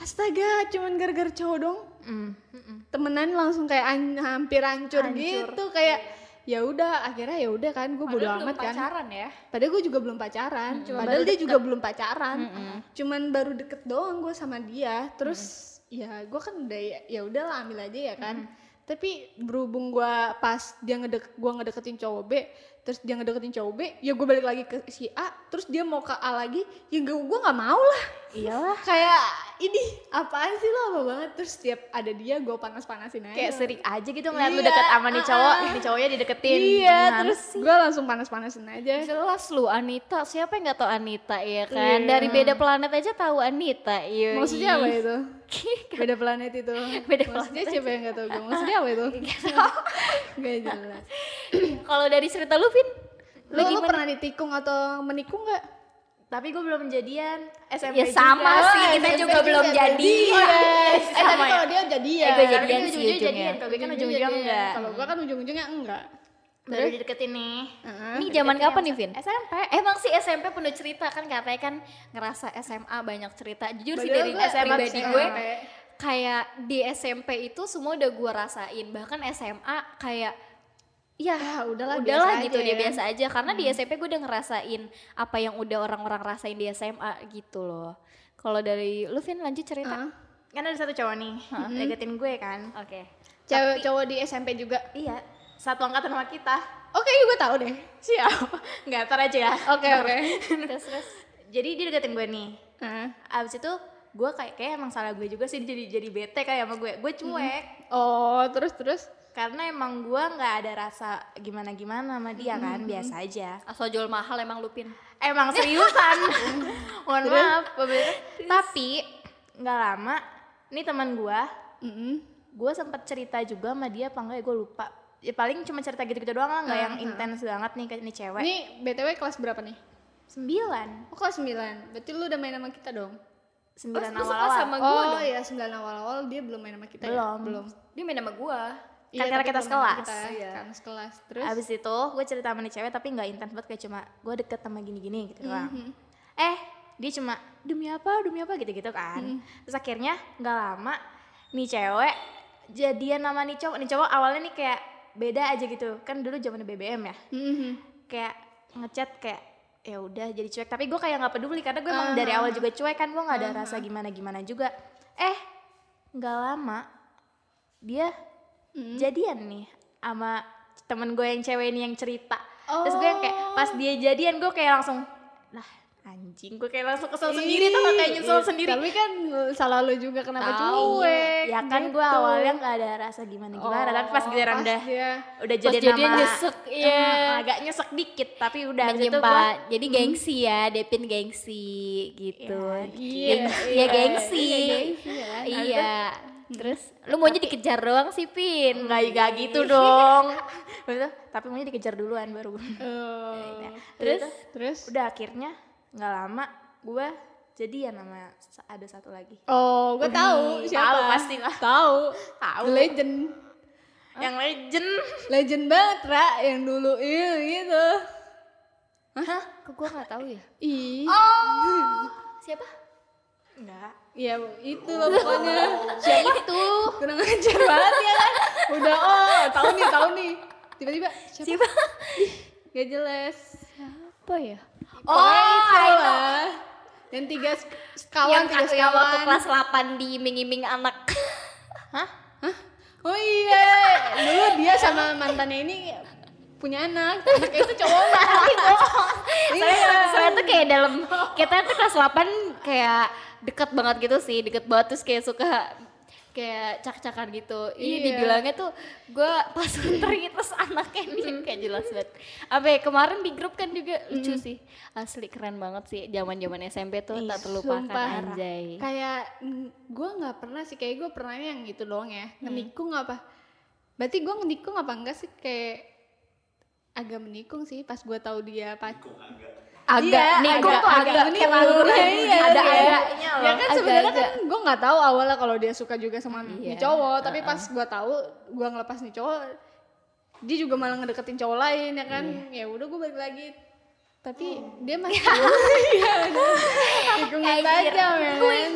Speaker 3: astaga cuman gara-gara cowok dong
Speaker 1: Mm.
Speaker 3: temenan langsung kayak an- hampir hancur, gitu kayak ya udah akhirnya ya udah kan gue bodo
Speaker 1: iya. Padahal belum
Speaker 3: amat kan
Speaker 1: pacaran ya. Hmm,
Speaker 3: padahal gue juga belum pacaran padahal dia juga belum pacaran cuman baru deket doang gue sama dia terus ya gue kan udah ya, ya udah lah ambil aja ya kan tapi berhubung gue pas dia ngedek gue ngedeketin cowok B terus dia ngedeketin cowok B ya gue balik lagi ke si A terus dia mau ke A lagi ya gue gue nggak mau lah
Speaker 1: Iyalah.
Speaker 3: kayak ini apaan sih lo apa banget terus setiap ada dia gue panas-panasin aja
Speaker 1: Kayak serik aja gitu ngeliat lu
Speaker 3: Iya,
Speaker 1: deket sama nih cowok,
Speaker 3: ah-ah.
Speaker 1: nih cowoknya dideketin. Nah.
Speaker 3: Iya,
Speaker 1: Gimana
Speaker 3: terus
Speaker 1: sih?
Speaker 3: gue langsung panas-panasin aja.
Speaker 2: jelas lu Anita siapa yang gak tahu Anita ya kan
Speaker 3: Iya.
Speaker 2: dari beda planet aja tahu Anita iya. yoi
Speaker 3: Maksudnya
Speaker 1: ya?
Speaker 3: apa itu? Beda planet itu.
Speaker 2: Beda
Speaker 3: Maksudnya siapa yang gak tau gue? Maksudnya apa itu? [laughs] gak jelas.
Speaker 2: [laughs] kalau dari cerita lu Vin
Speaker 3: Lu, lu pernah ditikung atau menikung gak?
Speaker 1: Tapi gue belum jadian SMP
Speaker 2: Ya sama
Speaker 1: juga.
Speaker 3: Ah,
Speaker 2: sih, kita juga belum jadi.
Speaker 3: Yes. Eh tapi
Speaker 1: Sama ya.
Speaker 3: kalau dia jadi Iya, ya.
Speaker 2: Eh, gua
Speaker 1: Tapi kan
Speaker 2: jadian sih
Speaker 1: ujung-ujungnya jadian, kalau gue
Speaker 2: ujungnya.
Speaker 1: kan ujung-ujungnya enggak.
Speaker 3: Kalau gue kan ujung-ujungnya enggak.
Speaker 2: baru dideketin nih
Speaker 3: Heeh.
Speaker 4: Ini zaman kapan nih, Vin?
Speaker 1: SMP
Speaker 2: emang sih SMP penuh cerita kan katanya kan ngerasa SMA banyak cerita jujur sih
Speaker 3: Padahal
Speaker 2: dari
Speaker 3: gua
Speaker 1: SMA
Speaker 2: pribadi
Speaker 1: bisa
Speaker 2: gue
Speaker 1: SMP.
Speaker 2: kayak di SMP itu semua udah gue rasain bahkan SMA kayak ya
Speaker 3: Ah, udahlah,
Speaker 2: udahlah
Speaker 3: biasa
Speaker 2: gitu
Speaker 3: aja
Speaker 2: dia
Speaker 3: ya.
Speaker 2: biasa aja karena di SMP gue udah ngerasain apa yang udah orang-orang rasain di SMA gitu loh kalau dari lu Vin lanjut cerita
Speaker 1: kan ada satu cowok nih deketin gue kan
Speaker 2: oke
Speaker 3: cewek cowok di SMP juga
Speaker 1: iya satu angkatan sama [laughs] kita
Speaker 3: oke gue tahu deh
Speaker 1: siapa nggak tar aja ya
Speaker 3: oke oke
Speaker 2: [laughs] terus terus
Speaker 1: jadi dia deketin gue nih
Speaker 3: Heeh.
Speaker 1: abis itu gue kayak kayak emang salah gue juga sih dia jadi jadi bete kayak sama gue gue cuek
Speaker 3: oh terus terus
Speaker 1: karena emang gue nggak ada rasa gimana gimana sama dia kan biasa aja
Speaker 2: asal jual mahal emang Lupin
Speaker 1: emang [laughs] seriusan mohon maaf pemirsa. tapi nggak lama ini teman gue
Speaker 3: Mm-mm.
Speaker 1: gue sempet cerita juga sama dia apa enggak ya gue lupa ya paling cuma cerita gitu-gitu doang lah
Speaker 2: Hmm,
Speaker 1: nggak yang intens banget nih kayak ini cewek
Speaker 3: ini btw kelas berapa nih
Speaker 1: sembilan
Speaker 3: oh kelas 9 berarti lu udah main sama kita dong
Speaker 1: sembilan
Speaker 2: lu suka
Speaker 1: awal-awal
Speaker 2: sama gue
Speaker 3: oh
Speaker 2: dong
Speaker 3: iya 9 awal-awal dia belum main sama kita ya?
Speaker 1: Belum.
Speaker 3: belum Iya,
Speaker 2: dia main sama gue
Speaker 1: Kan karena
Speaker 3: tapi
Speaker 1: kita
Speaker 3: belum main sama
Speaker 1: sekelas.
Speaker 3: kita,
Speaker 2: Iya.
Speaker 3: karena sekelas terus
Speaker 1: Abis itu gue cerita sama nih cewek tapi nggak intens banget kayak cuma gue deket sama gini-gini
Speaker 2: Hmm,
Speaker 1: gitu doang. Eh dia cuma demi apa demi apa gitu-gitu kan.
Speaker 2: Hmm.
Speaker 1: Terus akhirnya nggak lama nih cewek jadian sama nih cowok. Nih cowok awalnya nih kayak beda aja gitu kan dulu zaman BBM ya
Speaker 3: Mhm.
Speaker 1: kayak ngechat kayak ya udah jadi cuek tapi gue kayak nggak peduli karena gue emang dari awal juga cuek kan gue nggak ada rasa gimana gimana juga eh nggak lama dia jadian nih sama temen gue yang cewek ini yang cerita terus gue yang kayak pas dia jadian gue kayak langsung lah anjing gue kayak langsung kesel sendiri tuh kayak nyesel
Speaker 3: Iya,
Speaker 1: sendiri
Speaker 3: tapi kan salah lu juga kenapa
Speaker 2: Tahu.
Speaker 3: cuek
Speaker 1: ya kan gue
Speaker 3: gitu.
Speaker 1: awalnya nggak ada rasa gimana gimana tapi Oh, pas giliran
Speaker 3: Pas
Speaker 1: udah
Speaker 3: dia
Speaker 1: udah
Speaker 2: pas
Speaker 1: jadian
Speaker 2: jadian
Speaker 1: sama-
Speaker 2: nyesek, iya.
Speaker 1: Hmm, agak nyesek dikit tapi udah gitu abis itu gue
Speaker 2: menyimpan jadi gengsi ya Depin gengsi gitu
Speaker 3: Iya,
Speaker 2: Dia-
Speaker 3: iya.
Speaker 2: dia gengsi
Speaker 3: Iya, gengsi ya.
Speaker 2: iya terus lu maunya dikejar doang sih Pin Iya.
Speaker 1: nggak nggak gitu [laughs] dong Betul. tapi maunya dikejar duluan baru
Speaker 3: eh,
Speaker 1: [laughs] terus
Speaker 3: terus
Speaker 1: udah akhirnya nggak lama gue jadian sama sa- ada satu lagi
Speaker 3: oh gue tahu
Speaker 1: Ih,
Speaker 3: siapa
Speaker 1: tahu pasti lah.
Speaker 3: tahu
Speaker 1: Tahu.
Speaker 3: legend
Speaker 1: yang legend
Speaker 3: legend banget ra yang dulu iya gitu
Speaker 2: hah kok gua nggak tahu ya
Speaker 3: ih
Speaker 2: siapa
Speaker 1: nggak
Speaker 3: ya itu loh pokoknya
Speaker 2: ya itu
Speaker 3: kurang ajar banget ya kan udah oh tahu nih tahu nih tiba-tiba siapa,
Speaker 2: siapa
Speaker 3: gak jelas
Speaker 2: apa ya
Speaker 3: oh itu yang tiga sk-
Speaker 2: yang,
Speaker 3: sekawan tiga
Speaker 2: yang waktu
Speaker 3: sekawan
Speaker 2: kelas 8 diiming-iming anak
Speaker 3: oh iya dulu dia sama mantannya ini punya anak anaknya itu cowok
Speaker 2: soalnya soalnya tuh kayak dalam kita tuh kelas 8 kayak deket banget gitu sih deket banget terus kayak suka kayak cak-cakan gitu iya
Speaker 3: Iya.
Speaker 2: dibilangnya tuh gue pas [laughs] menteri terus anaknya dia kayak jelas banget apa ya, kemarin di grup kan juga lucu sih asli keren banget sih zaman zaman SMP tuh tak terlupakan
Speaker 3: sumpah.
Speaker 2: anjay
Speaker 3: kayak gue nggak pernah sih kayak gue pernah yang gitu doang ya
Speaker 2: Hmm.
Speaker 3: menikung apa berarti gue menikung apa enggak sih kayak agak menikung sih pas Iya, gue tahu dia pac
Speaker 2: agak nikung tuh agak, kayak
Speaker 3: menikung.
Speaker 2: laluran
Speaker 3: Iya,
Speaker 2: ada
Speaker 3: iya.
Speaker 2: ada
Speaker 3: ya kan
Speaker 2: Agak-agak.
Speaker 3: sebenarnya kan gue nggak tahu awalnya kalau dia suka juga sama
Speaker 2: Iya.
Speaker 3: nih cowok tapi pas gue tahu gue ngelepas nih cowok dia juga malah ngedeketin cowok lain ya kan ya udah gue balik lagi tapi dia masih iya tikungan aja men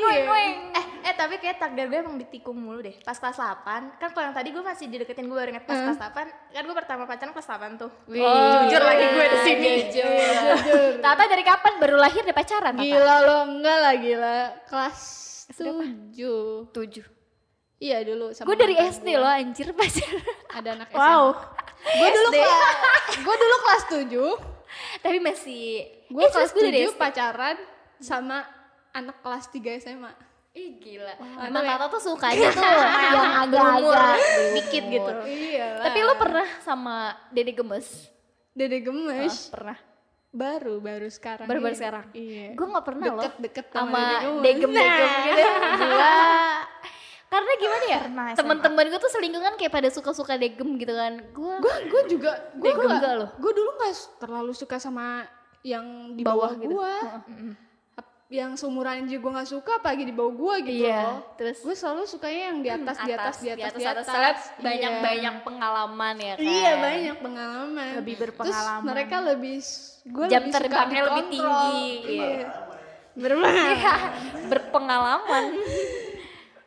Speaker 3: Iya.
Speaker 1: eh eh tapi kayak takdir gue emang ditikung mulu deh pas kelas 8 kan kalau yang tadi gue masih dideketin gue baru inget pas kelas 8 kan gue pertama pacaran kelas 8 tuh
Speaker 2: Wih,
Speaker 1: jujur lagi gue
Speaker 2: iya,
Speaker 1: di sini
Speaker 3: jujur
Speaker 2: Tata dari kapan baru lahir di pacaran Tata?
Speaker 3: Iya. gila lo enggak lah gila kelas tujuh
Speaker 2: tujuh
Speaker 3: iya dulu sama
Speaker 2: Gue dari
Speaker 3: mantan
Speaker 2: SD loh anjir pacaran
Speaker 3: ada anak SMA
Speaker 1: wow
Speaker 3: gue dulu kelas gue dulu kelas tujuh
Speaker 2: Tapi masih
Speaker 3: gue
Speaker 2: Eh, serius,
Speaker 3: kelas
Speaker 2: gua dari
Speaker 3: 7
Speaker 2: SD.
Speaker 3: pacaran sama anak kelas 3 SMA
Speaker 2: Ih gila
Speaker 3: mantap
Speaker 2: Emang
Speaker 3: ya.
Speaker 2: Tata tuh [laughs] sukanya tuh Yang agak-agak Dikit gitu
Speaker 3: iya
Speaker 2: Tapi lo pernah sama Dede Gemes?
Speaker 3: dede
Speaker 2: Oh,
Speaker 3: gemes
Speaker 2: pernah
Speaker 3: baru baru sekarang
Speaker 2: Baru-baru
Speaker 3: ini.
Speaker 2: sekarang?
Speaker 3: iya
Speaker 2: Gue gak pernah loh
Speaker 3: Deket-deket sama
Speaker 2: Sama
Speaker 3: Dede
Speaker 2: Dede
Speaker 3: Gemes. Nah,
Speaker 2: Gemes gitu Gila. [laughs] Karena gimana ya
Speaker 1: Pernah SMA.
Speaker 2: Temen-temen gue tuh selingkuhan kayak pada suka-suka degem gitu kan Gue
Speaker 3: gue gue juga gue
Speaker 2: Dede enggak loh.
Speaker 3: gue dulu nggak s- terlalu suka sama yang di
Speaker 2: Bawah
Speaker 3: bawah,
Speaker 2: gitu.
Speaker 3: gue yang seumuran aja gue nggak suka pagi di bawah gue gitu
Speaker 1: Iya,
Speaker 3: loh
Speaker 1: terus?
Speaker 3: gue selalu sukanya yang di Hmm, atas, di atas di atas di atas,
Speaker 2: Soalnya banyak
Speaker 3: Iya.
Speaker 2: banyak pengalaman ya kan
Speaker 3: iya banyak pengalaman
Speaker 1: Lebih
Speaker 3: terus
Speaker 1: berpengalaman.
Speaker 3: mereka lebih gue
Speaker 2: jam terbangnya lebih tinggi iya. Iya, [laughs] berpengalaman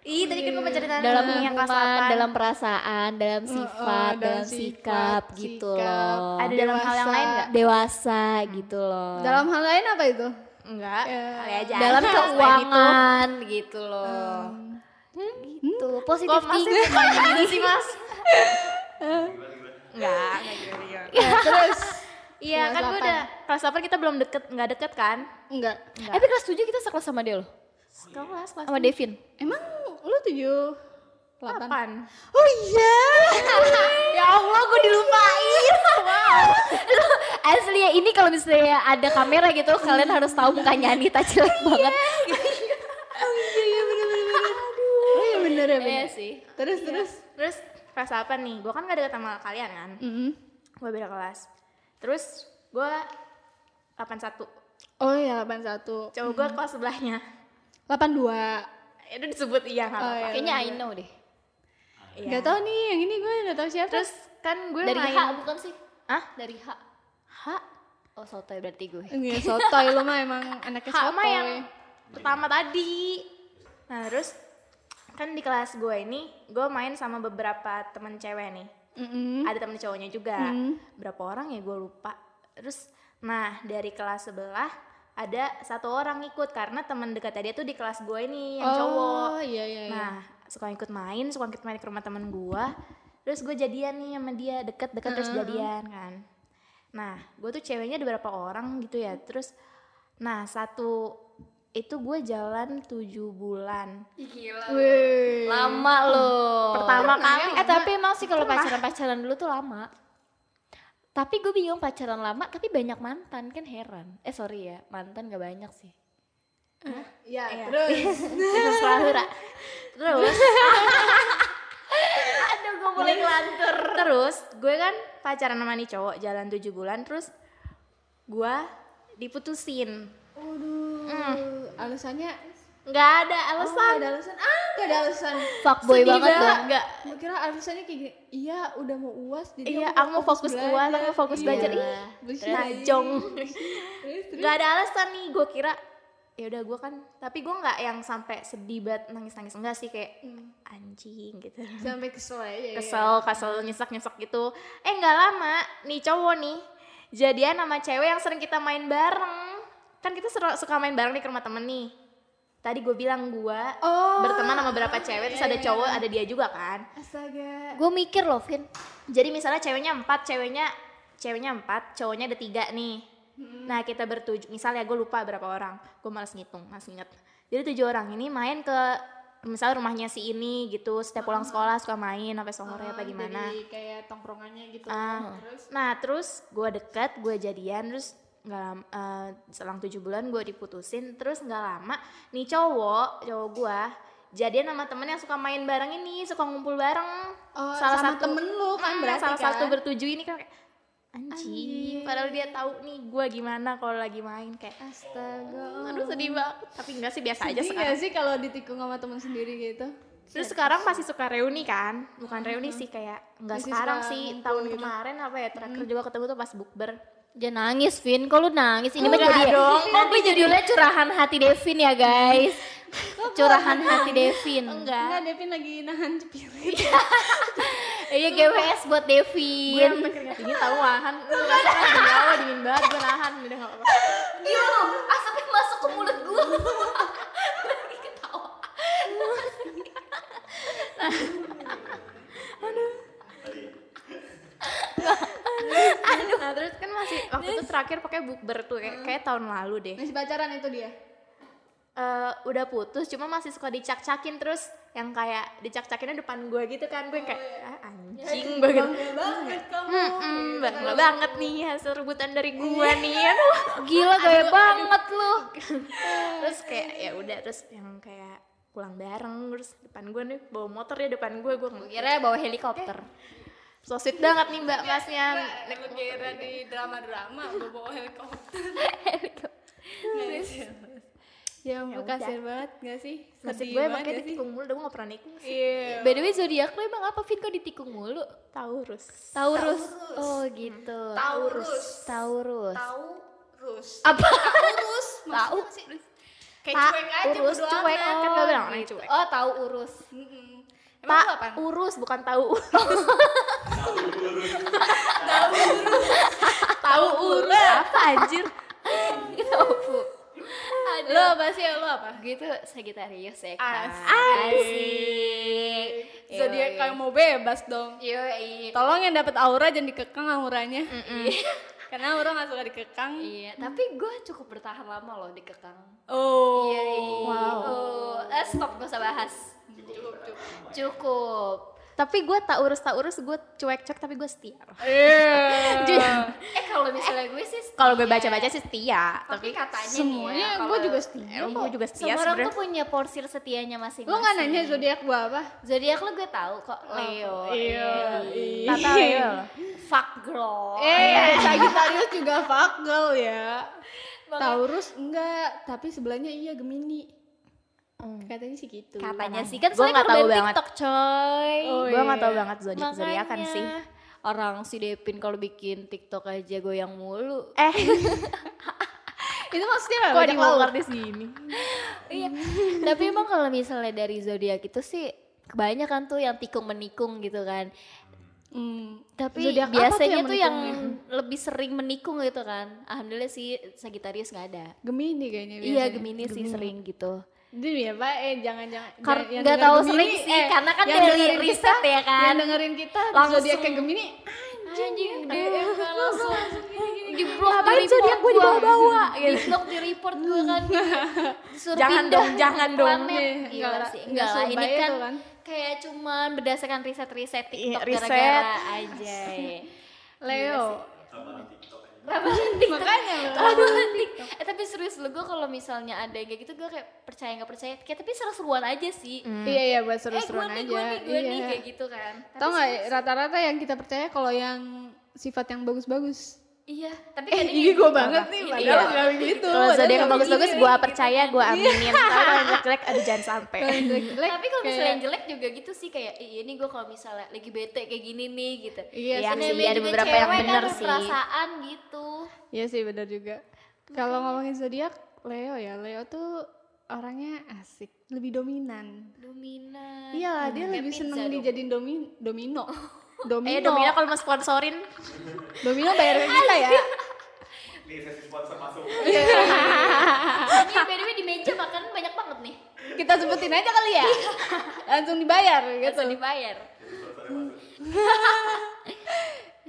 Speaker 1: Ih, tadi kan gue mau ceritain
Speaker 2: dalam
Speaker 1: tentang yang kelas
Speaker 2: hubungan,
Speaker 1: 8.
Speaker 2: dalam perasaan, dalam
Speaker 3: Heeh,
Speaker 2: sifat,
Speaker 3: dalam
Speaker 2: dalam sikap,
Speaker 3: sikap,
Speaker 2: gitu
Speaker 3: sikap.
Speaker 2: loh.
Speaker 1: Ada dalam hal yang lain nggak?
Speaker 2: dewasa gitu loh.
Speaker 3: dalam hal lain apa itu
Speaker 1: Enggak,
Speaker 3: Ya.
Speaker 1: kali aja.
Speaker 2: dalam
Speaker 1: Selain itu.
Speaker 2: keuangan gitu loh. Gitu, positif
Speaker 1: Kok masih
Speaker 2: thinking.
Speaker 1: bukan gitu sih, Mas? Enggak, gitu, enggak gimana-gimana.
Speaker 3: Ya, terus
Speaker 1: Iya,
Speaker 3: Kelas
Speaker 1: kan gue
Speaker 3: delapan.
Speaker 1: udah kelas 8 kita belum deket, enggak deket kan?
Speaker 3: enggak
Speaker 2: Eh, tapi kelas 7 kita sekelas sama dia loh.
Speaker 1: Kelas Oh, kelas
Speaker 2: Sama Devin.
Speaker 3: emang lu tujuh delapan
Speaker 1: 8.
Speaker 3: oh
Speaker 2: [laughs]
Speaker 3: iya
Speaker 1: Ya Allah, gue dilupain.
Speaker 2: Asli ya ini kalau misalnya ada kamera gitu kalian harus tahu mukanya Anita jelek banget.
Speaker 3: Iya, oh iya bener ya
Speaker 2: Iya
Speaker 3: bener
Speaker 2: sih.
Speaker 3: terus terus
Speaker 1: Terus kelas 8 nih, gue kan gak deket sama kalian kan?
Speaker 3: Mm-mm.
Speaker 1: Gue beda kelas. Terus gue 81.
Speaker 3: oh iya delapan satu
Speaker 1: Cowok gue kelas sebelahnya.
Speaker 3: delapan dua
Speaker 1: Itu disebut iya nggak
Speaker 3: Oh,
Speaker 1: apa-apa.
Speaker 3: iya.
Speaker 2: Kayaknya I know deh.
Speaker 1: Iya.
Speaker 3: Gak tau nih, yang ini gue gak tau siapa
Speaker 1: Terus kan gue
Speaker 2: Dari
Speaker 1: main.
Speaker 2: H bukan sih?
Speaker 1: Hah?
Speaker 2: Dari H.
Speaker 1: H?
Speaker 2: Oh, sotoy berarti gue.
Speaker 3: Iya, sotoy lu mah emang anaknya
Speaker 1: H mah
Speaker 3: sotoy
Speaker 1: yang pertama tadi. Nah terus kan di kelas gue ini gue main sama beberapa temen cewek nih.
Speaker 3: Mm-mm.
Speaker 1: Ada temen cowoknya juga.
Speaker 3: Hmm.
Speaker 1: Berapa orang ya gue lupa. Terus nah dari kelas sebelah ada satu orang ikut karena teman dekatnya dia tuh di kelas gue ini yang cowok.
Speaker 3: Oh iya iya iya
Speaker 1: Nah, suka ikut main, suka ikut main ke rumah temen gua. Terus gue jadian nih sama dia, deket-deket terus jadian kan. Nah, gue tuh ceweknya ada berapa orang gitu ya. Terus, nah satu itu gue jalan tujuh bulan. Nah,
Speaker 2: Gila.
Speaker 3: Wih.
Speaker 2: Lama loh.
Speaker 1: Pertama
Speaker 3: pernah
Speaker 1: kali.
Speaker 3: ya?
Speaker 2: Eh tapi emang sih kalau pacaran-pacaran dulu tuh lama. Tapi gue bingung pacaran lama tapi banyak mantan kan heran. Eh sorry ya, mantan gak banyak sih.
Speaker 3: Iya,
Speaker 1: Iya.
Speaker 3: terus
Speaker 1: Terus lahura. Terus, [laughs]
Speaker 2: Aduh gue mulai ngelantur.
Speaker 1: terus gue kan pacaran sama nih cowok jalan tujuh bulan. Terus gue diputusin.
Speaker 3: Waduh Alasannya
Speaker 1: Nggak ada
Speaker 3: Oh,
Speaker 1: Hmm. alasan.
Speaker 3: gak ada alasan Ah gak ada alasan
Speaker 2: Fuckboy
Speaker 1: Sedih
Speaker 2: banget
Speaker 1: Oh, banget,
Speaker 2: dong.
Speaker 1: nggak.
Speaker 3: Gue kira alasannya kayak gini Iya udah mau uas jadi
Speaker 1: Iya, aku mau fokus uas, aku mau fokus
Speaker 3: Iya.
Speaker 1: belajar. Ih, nah,
Speaker 3: Bullshit.
Speaker 1: najong. [laughs]
Speaker 3: Terus terus
Speaker 1: nggak ada alasan nih gue kira ya udah gue kan tapi gue nggak yang sampai sedih banget nangis nangis enggak sih kayak
Speaker 3: Hmm.
Speaker 1: anjing gitu
Speaker 3: Sampai kesel aja ya.
Speaker 1: kesel kesel nyesek nyesek gitu eh nggak lama nih cowok nih jadian sama cewek yang sering kita main bareng kan kita seru- suka main bareng nih ke rumah temen nih tadi gue bilang gue
Speaker 3: Oh. Iya,
Speaker 1: berteman sama beberapa cewek terus ada cowok ada dia juga kan
Speaker 3: Astaga
Speaker 2: Gue mikir loh Vin.
Speaker 1: jadi misalnya ceweknya empat ceweknya ceweknya empat cowoknya ada tiga nih
Speaker 3: Hmm.
Speaker 1: nah kita bertujuh misalnya gue lupa berapa orang gue malas ngitung malas inget jadi tujuh orang ini main ke misalnya rumahnya si ini gitu setiap pulang sekolah suka main sampai sore apa
Speaker 3: Ah,
Speaker 1: gimana
Speaker 3: Jadi kayak tongkrongannya gitu
Speaker 1: Ah.
Speaker 3: Terus
Speaker 1: nah terus gue deket gue jadian terus nggak lama eh, selang tujuh bulan gue diputusin terus nggak lama nih cowok cowok gue jadian sama temen yang suka main bareng ini suka ngumpul bareng
Speaker 3: Oh, sama temen lu kan
Speaker 1: Hmm,
Speaker 3: berarti
Speaker 1: salah
Speaker 3: kan?
Speaker 1: satu bertujuh ini kan kayak anjing
Speaker 3: Anjing.
Speaker 1: padahal dia tahu nih gue gimana kalau lagi main kayak
Speaker 3: Astaga
Speaker 1: aduh sedih banget tapi enggak sih biasa aja
Speaker 3: Oh. Sedih
Speaker 1: sekarang
Speaker 3: gak sih kalau ditikung sama temen sendiri gitu?
Speaker 1: terus sekarang masih suka reuni kan bukan reuni sih kayak enggak
Speaker 3: Masih
Speaker 1: sekarang
Speaker 3: suka
Speaker 1: sih
Speaker 3: ngumpul
Speaker 1: tahun
Speaker 3: gitu. Hmm.
Speaker 1: kemarin apa ya terakhir juga ketemu tuh pas bukber
Speaker 2: Jangan nangis Vin, kok lu nangis? Ini mah
Speaker 1: Enggak
Speaker 2: jadi
Speaker 1: dong,
Speaker 2: Kok gue judulnya curahan hati Devin ya guys? curahan hati Devin.
Speaker 1: enggak
Speaker 3: Devin lagi nahan cepirit.
Speaker 2: Iya GWS buat
Speaker 1: gue
Speaker 2: Devin.
Speaker 1: sampai keringat dingin tahu nahan lu nggak pernah demi Allah dingin banget gue nahan udah nggak apa-apa
Speaker 2: Gila loh, asapnya Ah, masuk ke mulut
Speaker 1: [laughs]
Speaker 2: gue. Lagi ketawa.
Speaker 1: nah terus kan masih waktu itu terakhir pakai bukber tuh kayak, kayak tahun lalu deh
Speaker 3: Masih pacaran itu dia?
Speaker 1: Eh, udah putus cuma masih suka dicak-cakin terus yang kayak dicak-cakinnya depan gue gitu kan gue
Speaker 2: Oh,
Speaker 1: kayak
Speaker 2: iya.
Speaker 1: ah, anjing banget Hmm.
Speaker 3: banget kamu.
Speaker 1: Mm-mm, bangga banget nih hasil rebutan dari gue nih aduh.
Speaker 2: Gila gaya banget lu.
Speaker 1: [laughs] terus kayak ya udah terus yang kayak pulang bareng terus depan gue nih bawa motor ya depan gue gue ngeliat
Speaker 2: Kira bawa helikopter.
Speaker 1: so sweet banget nih mbak masnya
Speaker 3: Lu kira di drama-drama gue bawa helikopter. Iya, ya ampun
Speaker 1: udah.
Speaker 3: kasian banget gak sih
Speaker 1: Nasib
Speaker 3: Sedih
Speaker 1: gue
Speaker 3: banget
Speaker 1: makanya
Speaker 3: nggak sih?
Speaker 1: ditikung mulu, udah gue gak pernah nikung sih.
Speaker 3: Iya.
Speaker 2: Eh. By the way zodiak lo emang apa Vin kok ditikung mulu?
Speaker 1: Taurus.
Speaker 2: Taurus. Oh gitu.
Speaker 3: Taurus.
Speaker 2: Taurus.
Speaker 3: Taurus.
Speaker 2: Apa?
Speaker 3: Taurus. Maksudnya sih kayak
Speaker 1: Ta-
Speaker 3: cuek aja
Speaker 1: urus
Speaker 3: bodo
Speaker 1: cuek
Speaker 3: amat.
Speaker 1: kan gak bilang orangnya
Speaker 2: gitu.
Speaker 1: cuek.
Speaker 2: Oh tahu urus.
Speaker 3: Mm-mm. Emang
Speaker 1: Tak
Speaker 3: lu apaan?
Speaker 1: urus bukan tahu.
Speaker 3: Tahu urus.
Speaker 1: [laughs] apa anjir?
Speaker 2: Tahu.
Speaker 3: Lo apa sih? Lo apa?
Speaker 2: Gitu Sagittarius ya kan.
Speaker 3: Asik.
Speaker 2: Asik.
Speaker 3: Zodiak
Speaker 1: Iya.
Speaker 3: kayak mau bebas dong.
Speaker 2: Yoi.
Speaker 3: Tolong yang dapat aura jangan dikekang auranya.
Speaker 1: Mm.
Speaker 3: Karena aura gak suka dikekang.
Speaker 2: Iya, tapi gue cukup bertahan lama loh di kekang.
Speaker 3: Oh.
Speaker 2: Iya,
Speaker 1: Wow.
Speaker 2: Oh, eh, stop gak usah bahas. Cukup.
Speaker 1: tapi gue tak urus tak urus gue cuek cuek tapi gue setia. [laughs]
Speaker 3: Iya.
Speaker 1: Jujur.
Speaker 2: Eh kalau misalnya gue sih,
Speaker 1: Kalau gue baca-baca sih setia.
Speaker 2: tapi katanya
Speaker 3: Semuanya
Speaker 2: nih ya,
Speaker 3: gue
Speaker 2: kalau-
Speaker 3: juga setia.
Speaker 1: Emang gue juga setia
Speaker 2: Semua orang tuh
Speaker 1: sebenarnya.
Speaker 2: punya porsi setianya masing-masing.
Speaker 3: Lo gak nanya zodiak gue apa?
Speaker 2: Zodiak lo gue tahu kok Leo.
Speaker 3: Iya.
Speaker 2: Iya.
Speaker 1: Tata Leo.
Speaker 2: Fuck girl.
Speaker 3: Eh, Sagittarius juga fakal ya.
Speaker 2: Makanya-
Speaker 3: Taurus enggak, tapi sebelahnya iya Gemini.
Speaker 1: Hmm.
Speaker 3: Katanya sih gitu.
Speaker 2: Katanya sih kan
Speaker 1: Gua
Speaker 2: saya
Speaker 1: nggak tahu
Speaker 2: korban
Speaker 1: banget.
Speaker 2: TikTok coy.
Speaker 3: Oh,
Speaker 1: gue gak tau
Speaker 3: iya.
Speaker 1: banget zodiak zodiakan
Speaker 2: Makanya,
Speaker 1: sih.
Speaker 2: kan Orang si Depin kalau bikin TikTok aja goyang mulu.
Speaker 1: Eh,
Speaker 3: Itu maksudnya apa?
Speaker 1: kok
Speaker 3: Banyak
Speaker 1: mau
Speaker 3: lauk.
Speaker 1: ngerti segini?
Speaker 2: Iya. Tapi emang kalau misalnya dari zodiak itu sih kebanyakan tuh yang tikung menikung gitu kan.
Speaker 3: Hmm.
Speaker 2: Tapi
Speaker 3: Zodiak apa
Speaker 2: biasanya tuh yang,
Speaker 3: menikungnya?
Speaker 2: lebih sering menikung gitu kan. Alhamdulillah sih Sagittarius nggak ada.
Speaker 3: Gemini kayaknya
Speaker 2: Iya
Speaker 3: biasanya.
Speaker 2: Gemini, sih sering gitu.
Speaker 3: Jadi ya Pak, eh jangan-jangan
Speaker 2: Kar-
Speaker 3: yang
Speaker 2: nggak
Speaker 3: denger
Speaker 2: tahu
Speaker 3: Gemini, eh,
Speaker 2: sering sih, karena kan
Speaker 3: yang
Speaker 2: dari
Speaker 3: dengerin
Speaker 2: riset
Speaker 3: kita,
Speaker 2: ya kan.
Speaker 3: Yang dengerin kita
Speaker 2: Langsung.
Speaker 3: zodiak yang Gemini
Speaker 2: Anjing, dia langsung di blok
Speaker 1: Ngapain zodiak gue
Speaker 3: [laughs]
Speaker 1: dibawa-bawa?
Speaker 2: Di blok di report gue kan. [laughs] Suruh
Speaker 1: Jangan
Speaker 2: gitu. pindah
Speaker 1: dong, jangan dong.
Speaker 2: planet.
Speaker 3: Iya,
Speaker 2: Gila
Speaker 3: nggak-
Speaker 2: sih.
Speaker 3: nggak
Speaker 2: Enggak lah, ini
Speaker 3: sebaya
Speaker 2: kan,
Speaker 3: tuh kan.
Speaker 2: kayak cuman berdasarkan riset-riset
Speaker 1: Iya,
Speaker 2: TikTok
Speaker 1: riset.
Speaker 2: gara-gara aja.
Speaker 3: Leo.
Speaker 2: Makanya [laughs] Aduh, TikTok. eh tapi serius lu gue kalau misalnya ada yang kayak gitu gue kayak percaya nggak percaya kayak tapi seru-seruan aja sih.
Speaker 3: Iya iya buat
Speaker 2: eh gue
Speaker 3: seru-seruan
Speaker 2: nih,
Speaker 3: aja.
Speaker 2: gue nih, gue nih
Speaker 3: Iya.
Speaker 2: kayak gitu kan. Tapi
Speaker 3: Tau nggak
Speaker 2: seru-
Speaker 3: rata-rata yang kita percaya kalau yang sifat yang bagus-bagus.
Speaker 2: Iya, tapi
Speaker 3: Eh,
Speaker 2: kadang
Speaker 3: ini gue banget nih,
Speaker 2: Ini
Speaker 3: padahal
Speaker 2: iya.
Speaker 3: nggak gitu.
Speaker 1: Kalau zodiak yang bagus-bagus
Speaker 3: gue
Speaker 1: gue percaya, gue aminin. Tapi kalau yang jelek-jelek, aduh jangan
Speaker 3: [laughs]
Speaker 1: sampai.
Speaker 3: Iya,
Speaker 2: tapi kalau misalnya yang jelek juga gitu sih kayak "Ih, ini gue kalau misalnya lagi bete kayak gini nih gitu
Speaker 3: Iya
Speaker 1: Iya
Speaker 3: sih,
Speaker 1: sih,
Speaker 2: namanya
Speaker 1: ada
Speaker 2: juga
Speaker 1: beberapa yang
Speaker 2: cewek kan
Speaker 1: bener
Speaker 2: ada
Speaker 1: sih.
Speaker 2: perasaan gitu
Speaker 3: Iya sih benar juga. Kalau ngomongin zodiak, Leo ya. Leo tuh orangnya asik, lebih dominan.
Speaker 2: dominan
Speaker 3: Iyalah, Iya, dia
Speaker 2: Kayak
Speaker 3: lebih
Speaker 2: pizza
Speaker 3: seneng
Speaker 2: dong.
Speaker 3: dijadiin domi [laughs] domino. Domino.
Speaker 1: Eh,
Speaker 3: ya?
Speaker 1: Domina kalau mau sponsorin,
Speaker 3: domino bayar ke kita ya.
Speaker 4: Nih sesi sponsor masuk.
Speaker 2: ini by the way di meja makanan banyak banget nih
Speaker 3: Kita sebutin aja kali ya. Langsung dibayar gitu.
Speaker 2: langsung dibayar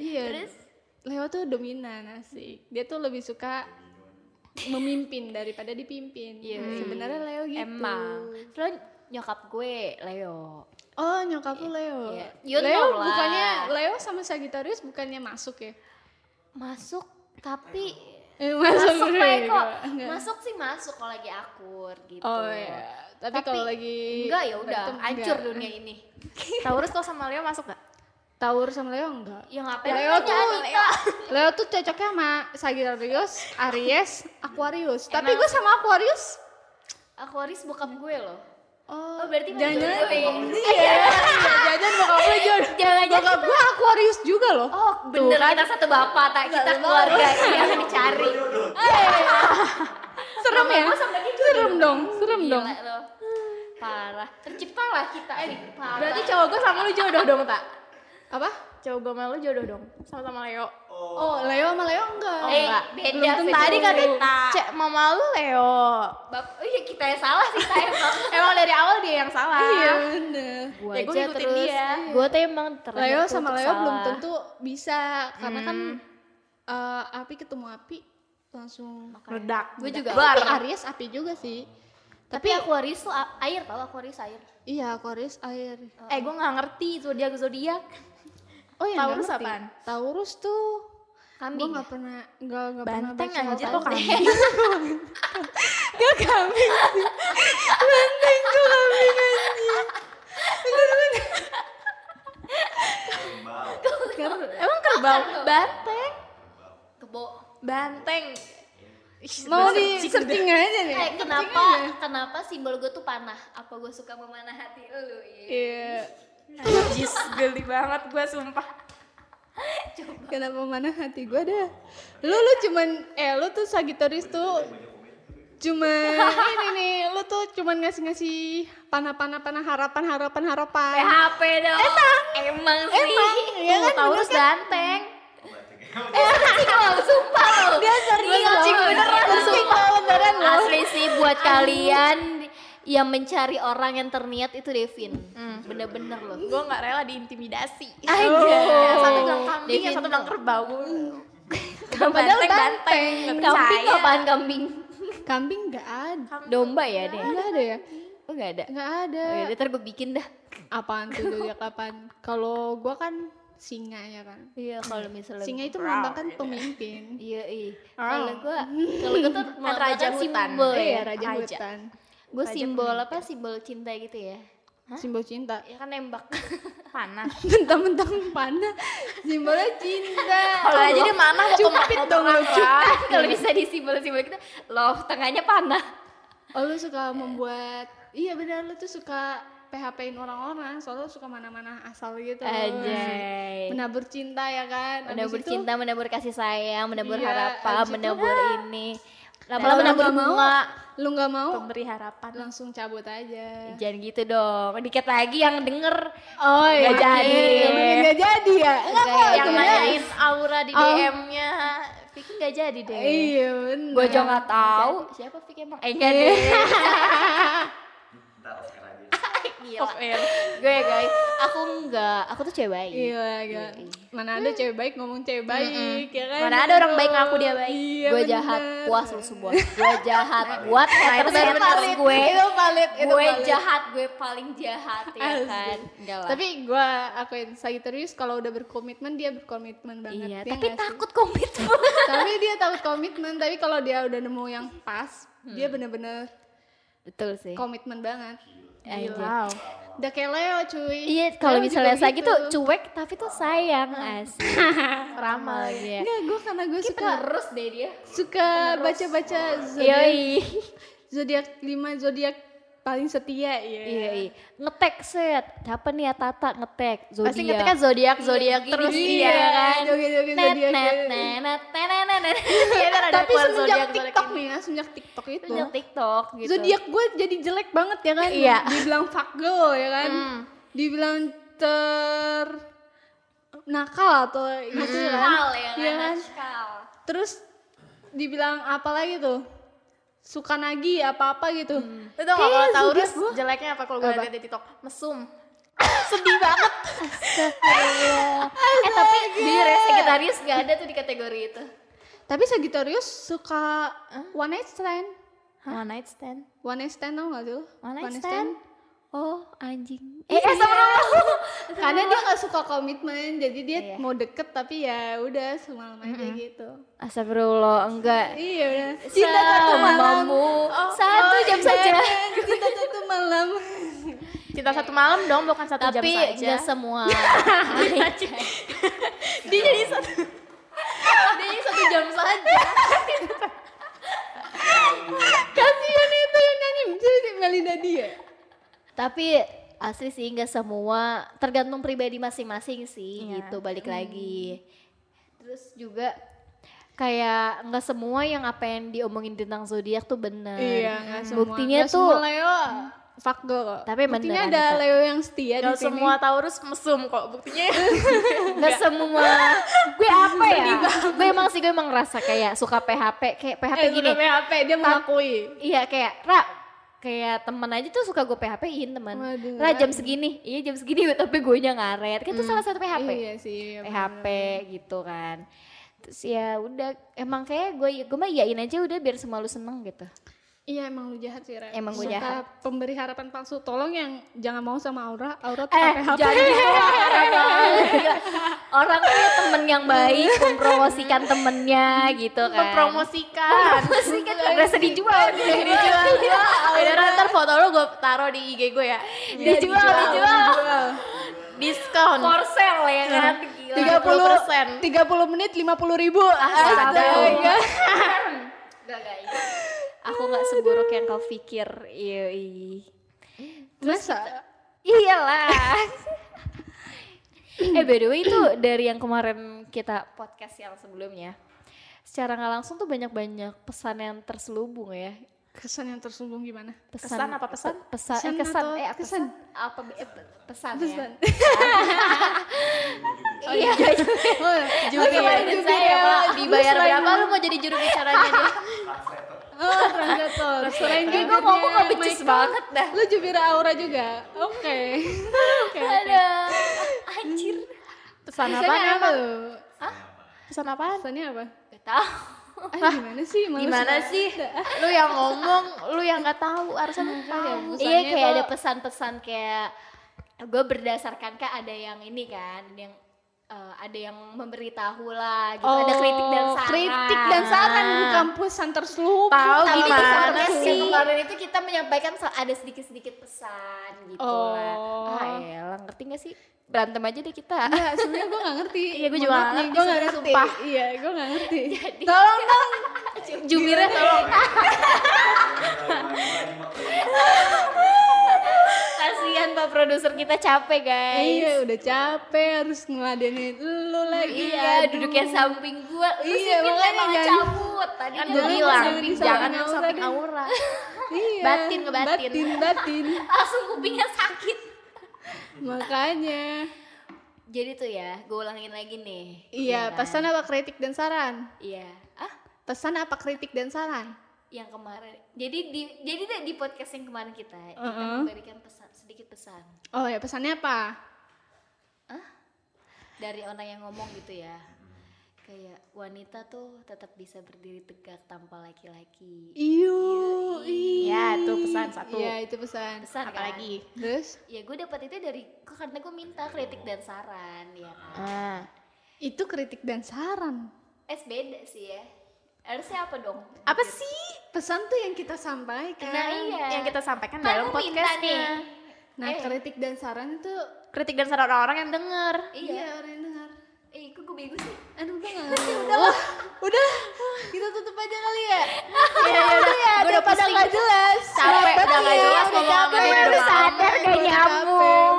Speaker 3: Iya.
Speaker 2: Terus?
Speaker 3: Leo tuh dominan asik. Dia tuh lebih suka memimpin daripada dipimpin.
Speaker 2: Iya,
Speaker 3: Hmm.
Speaker 2: iya.
Speaker 3: Sebenarnya Leo gitu.
Speaker 2: emang terus nyokap gue Leo
Speaker 3: Oh, nyokap lu Leo.
Speaker 2: Iya. You
Speaker 3: Leo
Speaker 2: know lah.
Speaker 3: bukannya Leo sama Sagittarius bukannya masuk ya?
Speaker 2: masuk tapi
Speaker 3: Eh, [laughs]
Speaker 2: masuk
Speaker 3: bro,
Speaker 2: baik
Speaker 3: ya,
Speaker 2: kok
Speaker 3: gua- enggak.
Speaker 2: masuk sih masuk kalau lagi akur gitu
Speaker 3: Oh iya. Tapi, kalau lagi
Speaker 2: enggak ya udah
Speaker 3: berantem,
Speaker 2: hancur
Speaker 3: enggak.
Speaker 2: dunia ini
Speaker 1: Taurus kalau sama Leo masuk gak?
Speaker 3: Taur sama Leo enggak?
Speaker 2: yang apa
Speaker 3: Leo tuh Leo tuh cocoknya sama Sagittarius, Aries, Aquarius. Tapi
Speaker 2: Emang-
Speaker 3: gue sama Aquarius
Speaker 2: Aquarius bokap gue loh.
Speaker 3: Oh,
Speaker 2: Oh, berarti
Speaker 3: jangan-jangan
Speaker 2: bokap gue.
Speaker 3: Iya, jangan bokap gue jodoh.
Speaker 1: Eh,
Speaker 2: Jangan-jangan
Speaker 3: Bokap gue Aquarius juga loh.
Speaker 2: Oh, bener kita satu bapak tak kita keluarga yang dicari. Iya,
Speaker 3: serem ya? Serem dong, serem dong.
Speaker 2: Gila loh. Parah. Terciptalah kita. Eh, parah.
Speaker 1: Berarti cowok gue sama lu jodoh dong, tak?
Speaker 3: Apa?
Speaker 1: Cowok gue sama lu jodoh dong, sama-sama Leo.
Speaker 3: Oh, Leo sama Leo enggak. Iya.
Speaker 2: Eh, beda,
Speaker 3: Belum tentu.
Speaker 2: beda.
Speaker 1: Tadi katanya,
Speaker 2: Ta.
Speaker 1: cek mama lu Leo.
Speaker 2: Bap- oh iya kita yang salah sih kita [laughs] emang.
Speaker 1: Emang dari awal dia yang salah.
Speaker 3: Iya, bener.
Speaker 2: Gue
Speaker 1: Ya, gua
Speaker 2: aja
Speaker 1: ngikutin
Speaker 2: terus.
Speaker 1: dia.
Speaker 2: Gue tuh emang terlahir
Speaker 3: Leo
Speaker 2: tuh
Speaker 3: sama
Speaker 2: untuk
Speaker 3: Leo belum
Speaker 2: salah.
Speaker 3: tentu bisa karena kan eh, api ketemu api langsung
Speaker 1: Meledak.
Speaker 2: Gue juga.
Speaker 3: Tapi
Speaker 2: Tapi,
Speaker 3: Aries api juga sih.
Speaker 2: tapi Aquarius tuh a- air tau Aquarius air.
Speaker 3: Iya, Aquarius air.
Speaker 1: Eh, gue gak ngerti zodiak zodiak.
Speaker 3: Oh iya, nggak
Speaker 1: Taurus
Speaker 3: ngerti.
Speaker 1: apaan?
Speaker 3: Taurus tuh gue
Speaker 2: Kambing. [laughs]
Speaker 3: nggak pernah nggak nggak pernah
Speaker 1: Banteng
Speaker 3: baca
Speaker 1: anjir
Speaker 3: soal
Speaker 1: kok
Speaker 3: Taurus.
Speaker 1: kambing.
Speaker 3: Karena-
Speaker 1: Emang kerbau? Banteng.
Speaker 2: Kebo.
Speaker 1: Banteng.
Speaker 3: mau di searching aja nih
Speaker 2: Eh, kenapa kenapa simbol gue tuh panah? Apa gue suka memanah hati lu? Iya.
Speaker 3: iya
Speaker 1: Najis, geli banget gue sumpah.
Speaker 3: kenapa mana hati gue dah lu lu cuman eh lu tuh Sagitarius tuh cuman ini nih lu tuh cuman ngasih ngasih panah panah panah harapan harapan harapan
Speaker 2: PHP Eh, dong. Emang, emang sih. Emang.
Speaker 1: Iya kan, Taurus ganteng.
Speaker 2: [laughs] Emang, Eh, sumpah lo.
Speaker 3: dia serius
Speaker 2: Gua searching
Speaker 3: loh.
Speaker 2: beneran,
Speaker 3: Gua searching loh, beneran loh.
Speaker 2: Asli sih buat kalian yang mencari orang yang terniat itu Devin. Bener-bener loh.
Speaker 1: Gue nggak rela diintimidasi.
Speaker 2: Aja.
Speaker 1: Yang satu bilang kambing,
Speaker 2: Devin
Speaker 1: yang satu
Speaker 2: tuh.
Speaker 1: bilang kerbau.
Speaker 2: Padahal
Speaker 1: Banteng, banteng. Nggak
Speaker 2: Kambing
Speaker 1: percaya.
Speaker 2: apaan kambing?
Speaker 3: kambing nggak ada
Speaker 2: Domba ya deh.
Speaker 3: nggak ada ya iya
Speaker 2: Oh nggak ada.
Speaker 3: nggak ada
Speaker 2: Oh, ya, ntar gue bikin dah.
Speaker 3: apaan tuh zodiak apaan kalau gue kan singa ya kan
Speaker 2: Iya kalau misalnya.
Speaker 3: singa itu melambangkan pemimpin
Speaker 2: Iya iya.
Speaker 1: Oh.
Speaker 2: Kalau gua [laughs] kalau gua tuh
Speaker 1: Kan raja
Speaker 2: melambangkan
Speaker 1: hutan.
Speaker 2: simbol ya.
Speaker 3: iya raja,
Speaker 1: raja.
Speaker 3: hutan
Speaker 2: Gue simbol apa? Simbol cinta gitu ya.
Speaker 3: simbol cinta [laughs]
Speaker 2: Ya kan [laughs] nembak.
Speaker 1: Panah.
Speaker 3: mentang-mentang panah simbolnya cinta
Speaker 1: [laughs] Kalau aja dia manah mau
Speaker 3: cupit dong lu cupit
Speaker 2: [laughs] kalau bisa di simbol-simbol kita love tengahnya panah.
Speaker 3: oh lu suka membuat iya benar lu tuh suka PHP-in orang-orang soalnya lu suka mana-mana asal gitu
Speaker 2: Anjay.
Speaker 3: menabur cinta ya kan Abis
Speaker 2: menabur
Speaker 3: itu,
Speaker 2: cinta, menabur kasih sayang, menabur
Speaker 3: Iya,
Speaker 2: harapan,
Speaker 3: abis itu,
Speaker 2: menabur ini.
Speaker 3: kalau
Speaker 2: Lama-lama
Speaker 3: lu
Speaker 2: menabur
Speaker 3: nggak mau
Speaker 2: bunga.
Speaker 3: lu nggak mau
Speaker 1: Pemberi harapan.
Speaker 3: langsung cabut aja
Speaker 2: Jangan gitu dong. Dikit lagi yang denger.
Speaker 3: oh
Speaker 2: iya. Iya, mungkin
Speaker 3: nggak jadi ya nggak
Speaker 2: Nggak,
Speaker 1: Yang
Speaker 2: Iya.
Speaker 1: nanyain aura di
Speaker 3: Oh.
Speaker 1: DM-nya. Vicky nggak jadi deh.
Speaker 3: iya benar
Speaker 2: Gue juga nggak tahu. Siapa Fik emang? Eh
Speaker 3: Iya.
Speaker 2: enggak deh.
Speaker 4: Ntar Oscar aja.
Speaker 2: Gila.
Speaker 1: Off air.
Speaker 2: Gue guys. Aku enggak. Aku tuh cewek baik.
Speaker 3: Iya, gila. Mana ada cewek baik ngomong cewek baik, ya kan?
Speaker 1: Mana ada orang baik ngaku dia baik.
Speaker 3: Iya,
Speaker 2: Gue jahat.
Speaker 3: bener.
Speaker 2: Puas lu semua. Gue jahat. Buat haters
Speaker 1: bener,
Speaker 2: haters
Speaker 1: valid.
Speaker 2: gue.
Speaker 3: Itu valid, itu
Speaker 2: Gue
Speaker 3: valid.
Speaker 2: jahat. Gue paling jahat ya
Speaker 3: Asli.
Speaker 2: kan. Enggak lah.
Speaker 3: Tapi gue akuin Sagittarius kalau udah berkomitmen dia berkomitmen banget.
Speaker 2: Iya,
Speaker 3: ya
Speaker 2: tapi
Speaker 3: nggak sih?
Speaker 2: takut komitmen.
Speaker 3: tapi dia takut komitmen, tapi kalau dia udah nemu yang pas, dia bener-bener
Speaker 2: [laughs] Betul sih.
Speaker 3: komitmen banget.
Speaker 2: Aja.
Speaker 1: Wow.
Speaker 3: Udah kayak Leo cuy.
Speaker 2: Iya, kalau
Speaker 3: Leo
Speaker 2: misalnya
Speaker 3: juga
Speaker 2: saya gitu cuek tapi tuh sayang asik.
Speaker 1: Ramal.
Speaker 2: Iya.
Speaker 3: Enggak, gue karena gue suka
Speaker 2: Terus deh dia.
Speaker 3: suka baca-baca zodiak
Speaker 2: Yoi.
Speaker 3: zodiak lima zodiak paling setia ya.
Speaker 2: Yoi. Iya, Ngetek set. Siapa nih ya Tata ngetek? Zodiak.
Speaker 1: Pasti ngerti kan zodiak zodiak
Speaker 2: Gini,
Speaker 1: terus
Speaker 2: gini,
Speaker 1: iya
Speaker 2: gini.
Speaker 1: kan.
Speaker 3: Joget-joget
Speaker 2: Net
Speaker 3: zodiak.
Speaker 2: net net net net net net.
Speaker 1: Iya kan ada
Speaker 3: Tapi
Speaker 1: keluar
Speaker 3: semenjak
Speaker 1: zodiak-zodiak
Speaker 3: TikTok
Speaker 1: ini.
Speaker 3: nih ya, semenjak TikTok itu.
Speaker 2: Punya TikTok gitu.
Speaker 3: Zodiak gue jadi jelek banget ya kan?
Speaker 1: Iya. Hmm.
Speaker 3: Dibilang fuck girl ya kan? Dibilang ter nakal atau gitu
Speaker 1: Hmm.
Speaker 3: ya kan?
Speaker 2: Nakal ya
Speaker 3: Iya
Speaker 2: kan?
Speaker 3: kan?
Speaker 2: Nakal.
Speaker 3: Terus dibilang apa lagi tuh? Suka nagi apa-apa gitu.
Speaker 1: Lu tau gak kalau
Speaker 3: Kayaknya
Speaker 1: Taurus
Speaker 3: zodiak gua.
Speaker 1: jeleknya apa kalau gue
Speaker 3: Apa?
Speaker 1: lihat di TikTok? Mesum. Sedih banget.
Speaker 2: Eh tapi di Sekretarius gak ada tuh di kategori itu.
Speaker 3: Tapi Sagittarius suka one night stand.
Speaker 1: One night stand.
Speaker 3: One night stand tau gak tuh?
Speaker 1: One night stand?
Speaker 2: Oh anjing. Iya.
Speaker 3: Eh, eh sama Karena dia gak suka komitmen, jadi dia
Speaker 2: Iya.
Speaker 3: mau deket tapi ya udah semalam aja gitu.
Speaker 2: Astagfirullah enggak.
Speaker 3: Iya udah.
Speaker 2: Cinta satu malam.
Speaker 3: Oh,
Speaker 2: Satu jam saja.
Speaker 3: iya, [laughs] Cinta satu malam.
Speaker 1: Cinta satu malam dong, bukan satu jam
Speaker 2: Tapi
Speaker 1: saja.
Speaker 2: nggak
Speaker 1: [laughs]
Speaker 2: semua.
Speaker 1: Dia jadi satu. Dia jadi satu jam saja.
Speaker 3: Kasihan itu yang nyanyi Jadi si Melinda dia.
Speaker 2: Tapi asli sih nggak semua, tergantung pribadi masing-masing sih
Speaker 1: Iya.
Speaker 2: gitu balik
Speaker 3: Hmm.
Speaker 2: lagi. Terus juga kayak nggak semua yang apa yang diomongin tentang zodiak tuh bener.
Speaker 3: Eh, iya, nggak
Speaker 2: Buktinya
Speaker 3: Nggak
Speaker 2: tuh-
Speaker 3: semua Leo fuck girl. kok.
Speaker 2: Tapi bener, kan
Speaker 3: Buktinya ada
Speaker 2: Anita.
Speaker 3: Leo yang setia di
Speaker 1: Gak
Speaker 3: sini.
Speaker 1: semua Taurus mesum kok buktinya.
Speaker 2: Nggak
Speaker 3: [laughs]
Speaker 2: semua. gue apa ya? gue emang sih gue emang ngerasa kayak suka PHP, kayak PHP
Speaker 3: eh,
Speaker 2: gini.
Speaker 3: gini. PHP dia mengakui.
Speaker 2: Iya kayak Ra kayak temen aja tuh suka gue PHP-in teman.
Speaker 3: Waduh,
Speaker 2: Ra jam segini, iya jam segini [laughs] tapi gue nya ngaret. Kan itu salah satu PHP.
Speaker 3: Iya sih. iya,
Speaker 2: PHP gitu kan terus ya udah emang kayak gue gue mah iyain aja udah biar semua lu seneng [laughs] gitu
Speaker 3: Iya emang lu jahat sih Ren.
Speaker 2: Emang gua
Speaker 3: Suka
Speaker 2: jahat.
Speaker 3: Pemberi harapan palsu. Tolong yang jangan mau sama Aura. Aura
Speaker 2: eh
Speaker 3: tuh pakai HP.
Speaker 2: jadi Iya. orang punya temen yang baik mempromosikan temennya gitu kan
Speaker 1: Mempromosikan.
Speaker 2: mempromosikan udah sedih dijual
Speaker 1: Dijual. Beneran ntar foto lu gue taruh di IG gue ya.
Speaker 2: dijual dijual
Speaker 1: Diskon.
Speaker 2: korsel ya kan gila
Speaker 3: Tiga puluh
Speaker 1: 30%.
Speaker 2: Ah,
Speaker 3: tiga puluh menit lima puluh ribu.
Speaker 2: Astaga.
Speaker 3: Astaga.
Speaker 2: Enggak, enggak, aku nggak seburuk yang kau pikir Iya, Yoi.
Speaker 3: masa
Speaker 2: iyalah [laughs] eh by the way itu dari yang kemarin kita podcast yang sebelumnya secara nggak langsung tuh banyak-banyak pesan yang terselubung ya
Speaker 3: kesan yang terselubung gimana
Speaker 2: pesan,
Speaker 1: Kesan apa pesan?
Speaker 2: Pe- pesan,
Speaker 3: Pesan
Speaker 2: eh, kesan,
Speaker 3: atau
Speaker 2: eh, apa-
Speaker 3: kesan?
Speaker 2: apa eh, pe- pesan, [laughs]
Speaker 3: Pesan.
Speaker 2: ya iya
Speaker 3: oh,
Speaker 1: Lu
Speaker 2: Iya,
Speaker 1: kemarin
Speaker 2: dan
Speaker 1: saya
Speaker 3: ya.
Speaker 2: saya
Speaker 1: Pak.
Speaker 2: malah
Speaker 1: dibayar berapa lu mau jadi juru bicaranya dia?
Speaker 4: Translator.
Speaker 3: oh translator selain
Speaker 2: Kayak gue ngomong kok becus banget dah
Speaker 3: lu jubir aura juga oke [laughs] oke
Speaker 2: ada anjir
Speaker 1: Pesan apa?
Speaker 3: pesannya apa lu
Speaker 1: Pesan apaan?
Speaker 3: pesannya apa
Speaker 2: gak tau
Speaker 3: ah, gimana sih males
Speaker 1: Gimana
Speaker 3: banget. Ah, ya,
Speaker 1: sih? Lu yang ngomong, lu yang nggak tahu, harusnya lu tahu.
Speaker 2: iya
Speaker 3: Pesannya
Speaker 2: kayak
Speaker 3: tuh-
Speaker 2: ada pesan-pesan kayak gue berdasarkan kak ada yang ini kan ada yang eh, ada yang memberitahu lah gitu ada kritik dan saran
Speaker 3: Oh, kritik dan saran Oh, bukan pesan terselubung
Speaker 1: Tahu
Speaker 2: Tapi
Speaker 1: gimana
Speaker 2: pesannya
Speaker 1: sih?
Speaker 2: yang kemarin itu kita menyampaikan so- ada sedikit-sedikit pesan gitu lah
Speaker 3: Oh.
Speaker 2: ah elah ngerti gak sih berantem aja deh kita
Speaker 3: Enggak, sebenarnya gue gak ngerti.
Speaker 1: Iya, gua juga
Speaker 3: Mohon
Speaker 1: nggak
Speaker 3: maaf nih,
Speaker 1: ngerti
Speaker 3: gua
Speaker 1: sebenarnya,
Speaker 3: nggak ngerti.
Speaker 1: sumpah.
Speaker 3: Iya, gue gak ngerti.
Speaker 2: Jadi-
Speaker 3: [laughs] Tolong dong.
Speaker 1: Jubirnya tolong.
Speaker 2: [laughs] kasihan pak produser kita capek guys
Speaker 3: Iya, udah capek harus ngeladenin lu lagi.
Speaker 2: Iya,
Speaker 3: aduh.
Speaker 2: duduknya samping gua. Lu
Speaker 3: Iya,
Speaker 2: sipin
Speaker 3: makanya
Speaker 2: malah
Speaker 3: jangan-
Speaker 2: cabut. Tadi
Speaker 1: Kan
Speaker 2: dia
Speaker 1: gue
Speaker 3: Jangan
Speaker 1: bilang,
Speaker 3: yang di
Speaker 1: jangan yang
Speaker 3: samping aura
Speaker 1: samping
Speaker 3: deh.
Speaker 1: aura.
Speaker 3: [laughs] Iya.
Speaker 1: Batin ke batin.
Speaker 3: Batin, batin.
Speaker 2: langsung kupingnya sakit.
Speaker 3: Makanya.
Speaker 2: Jadi tuh ya, gue ulangin lagi nih.
Speaker 3: Iya,
Speaker 2: kan?
Speaker 3: pesan apa kritik dan saran?
Speaker 2: Iya. Ah,
Speaker 3: Pesan apa kritik dan saran?
Speaker 2: yang kemarin. Jadi di jadi deh di podcast yang kemarin kita, kita
Speaker 3: Uh-uh.
Speaker 2: memberikan pesan sedikit pesan
Speaker 3: Oh ya, pesannya apa?
Speaker 2: dari orang yang ngomong gitu ya. Kayak wanita tuh tetap bisa berdiri tegak tanpa laki-laki.
Speaker 3: Iyo,
Speaker 1: Iya, itu pesan satu.
Speaker 3: Iya, itu pesan.
Speaker 2: Pesan kan?
Speaker 1: Apalagi.
Speaker 3: Terus
Speaker 2: Ya gue dapat itu dari karena gue minta kritik dan saran ya kan.
Speaker 1: Ah.
Speaker 3: itu kritik dan saran.
Speaker 2: Es beda sih ya. Harusnya apa dong?
Speaker 1: Apa sih
Speaker 3: Pesan tuh yang kita sampaikan.
Speaker 2: Nah iya.
Speaker 1: yang kita sampaikan
Speaker 2: Kan
Speaker 1: dalam
Speaker 2: lu minta nih.
Speaker 1: podcastnya?
Speaker 3: Nah,
Speaker 2: Eh.
Speaker 3: kritik dan saran itu
Speaker 1: Kritik dan saran orang yang denger.
Speaker 2: Iya.
Speaker 3: orang yang dengar.
Speaker 2: Eh, kok gue bego sih?
Speaker 3: Aduh,
Speaker 1: [laughs]
Speaker 3: gue gak ngerti. Udah lah. Udah. Kita tutup aja kali ya.
Speaker 1: [laughs] Iya, iya, udah. Gue udah
Speaker 3: daripada
Speaker 1: pusing.
Speaker 3: nggak jelas. ya,
Speaker 1: Capek, udah nggak jelas ngomong sama dia.
Speaker 3: udah
Speaker 1: udah malam.
Speaker 3: sadar gak nyambung.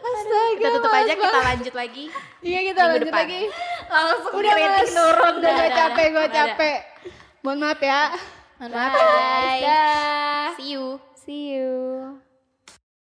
Speaker 3: Astaga,
Speaker 2: Iya,
Speaker 1: Kita tutup aja,
Speaker 3: males
Speaker 1: kita
Speaker 3: banget.
Speaker 1: lanjut lagi.
Speaker 3: Iya, kita
Speaker 1: minggu
Speaker 3: lanjut
Speaker 1: depan.
Speaker 3: lagi.
Speaker 1: Langsung
Speaker 3: Udah,
Speaker 1: kritik
Speaker 3: Mas.
Speaker 1: nurun.
Speaker 3: Udah, gue capek, gue
Speaker 1: Udah, udah.
Speaker 3: capek. Mohon maaf ya.
Speaker 1: Bye.
Speaker 2: Dah.
Speaker 1: See you.
Speaker 2: See you.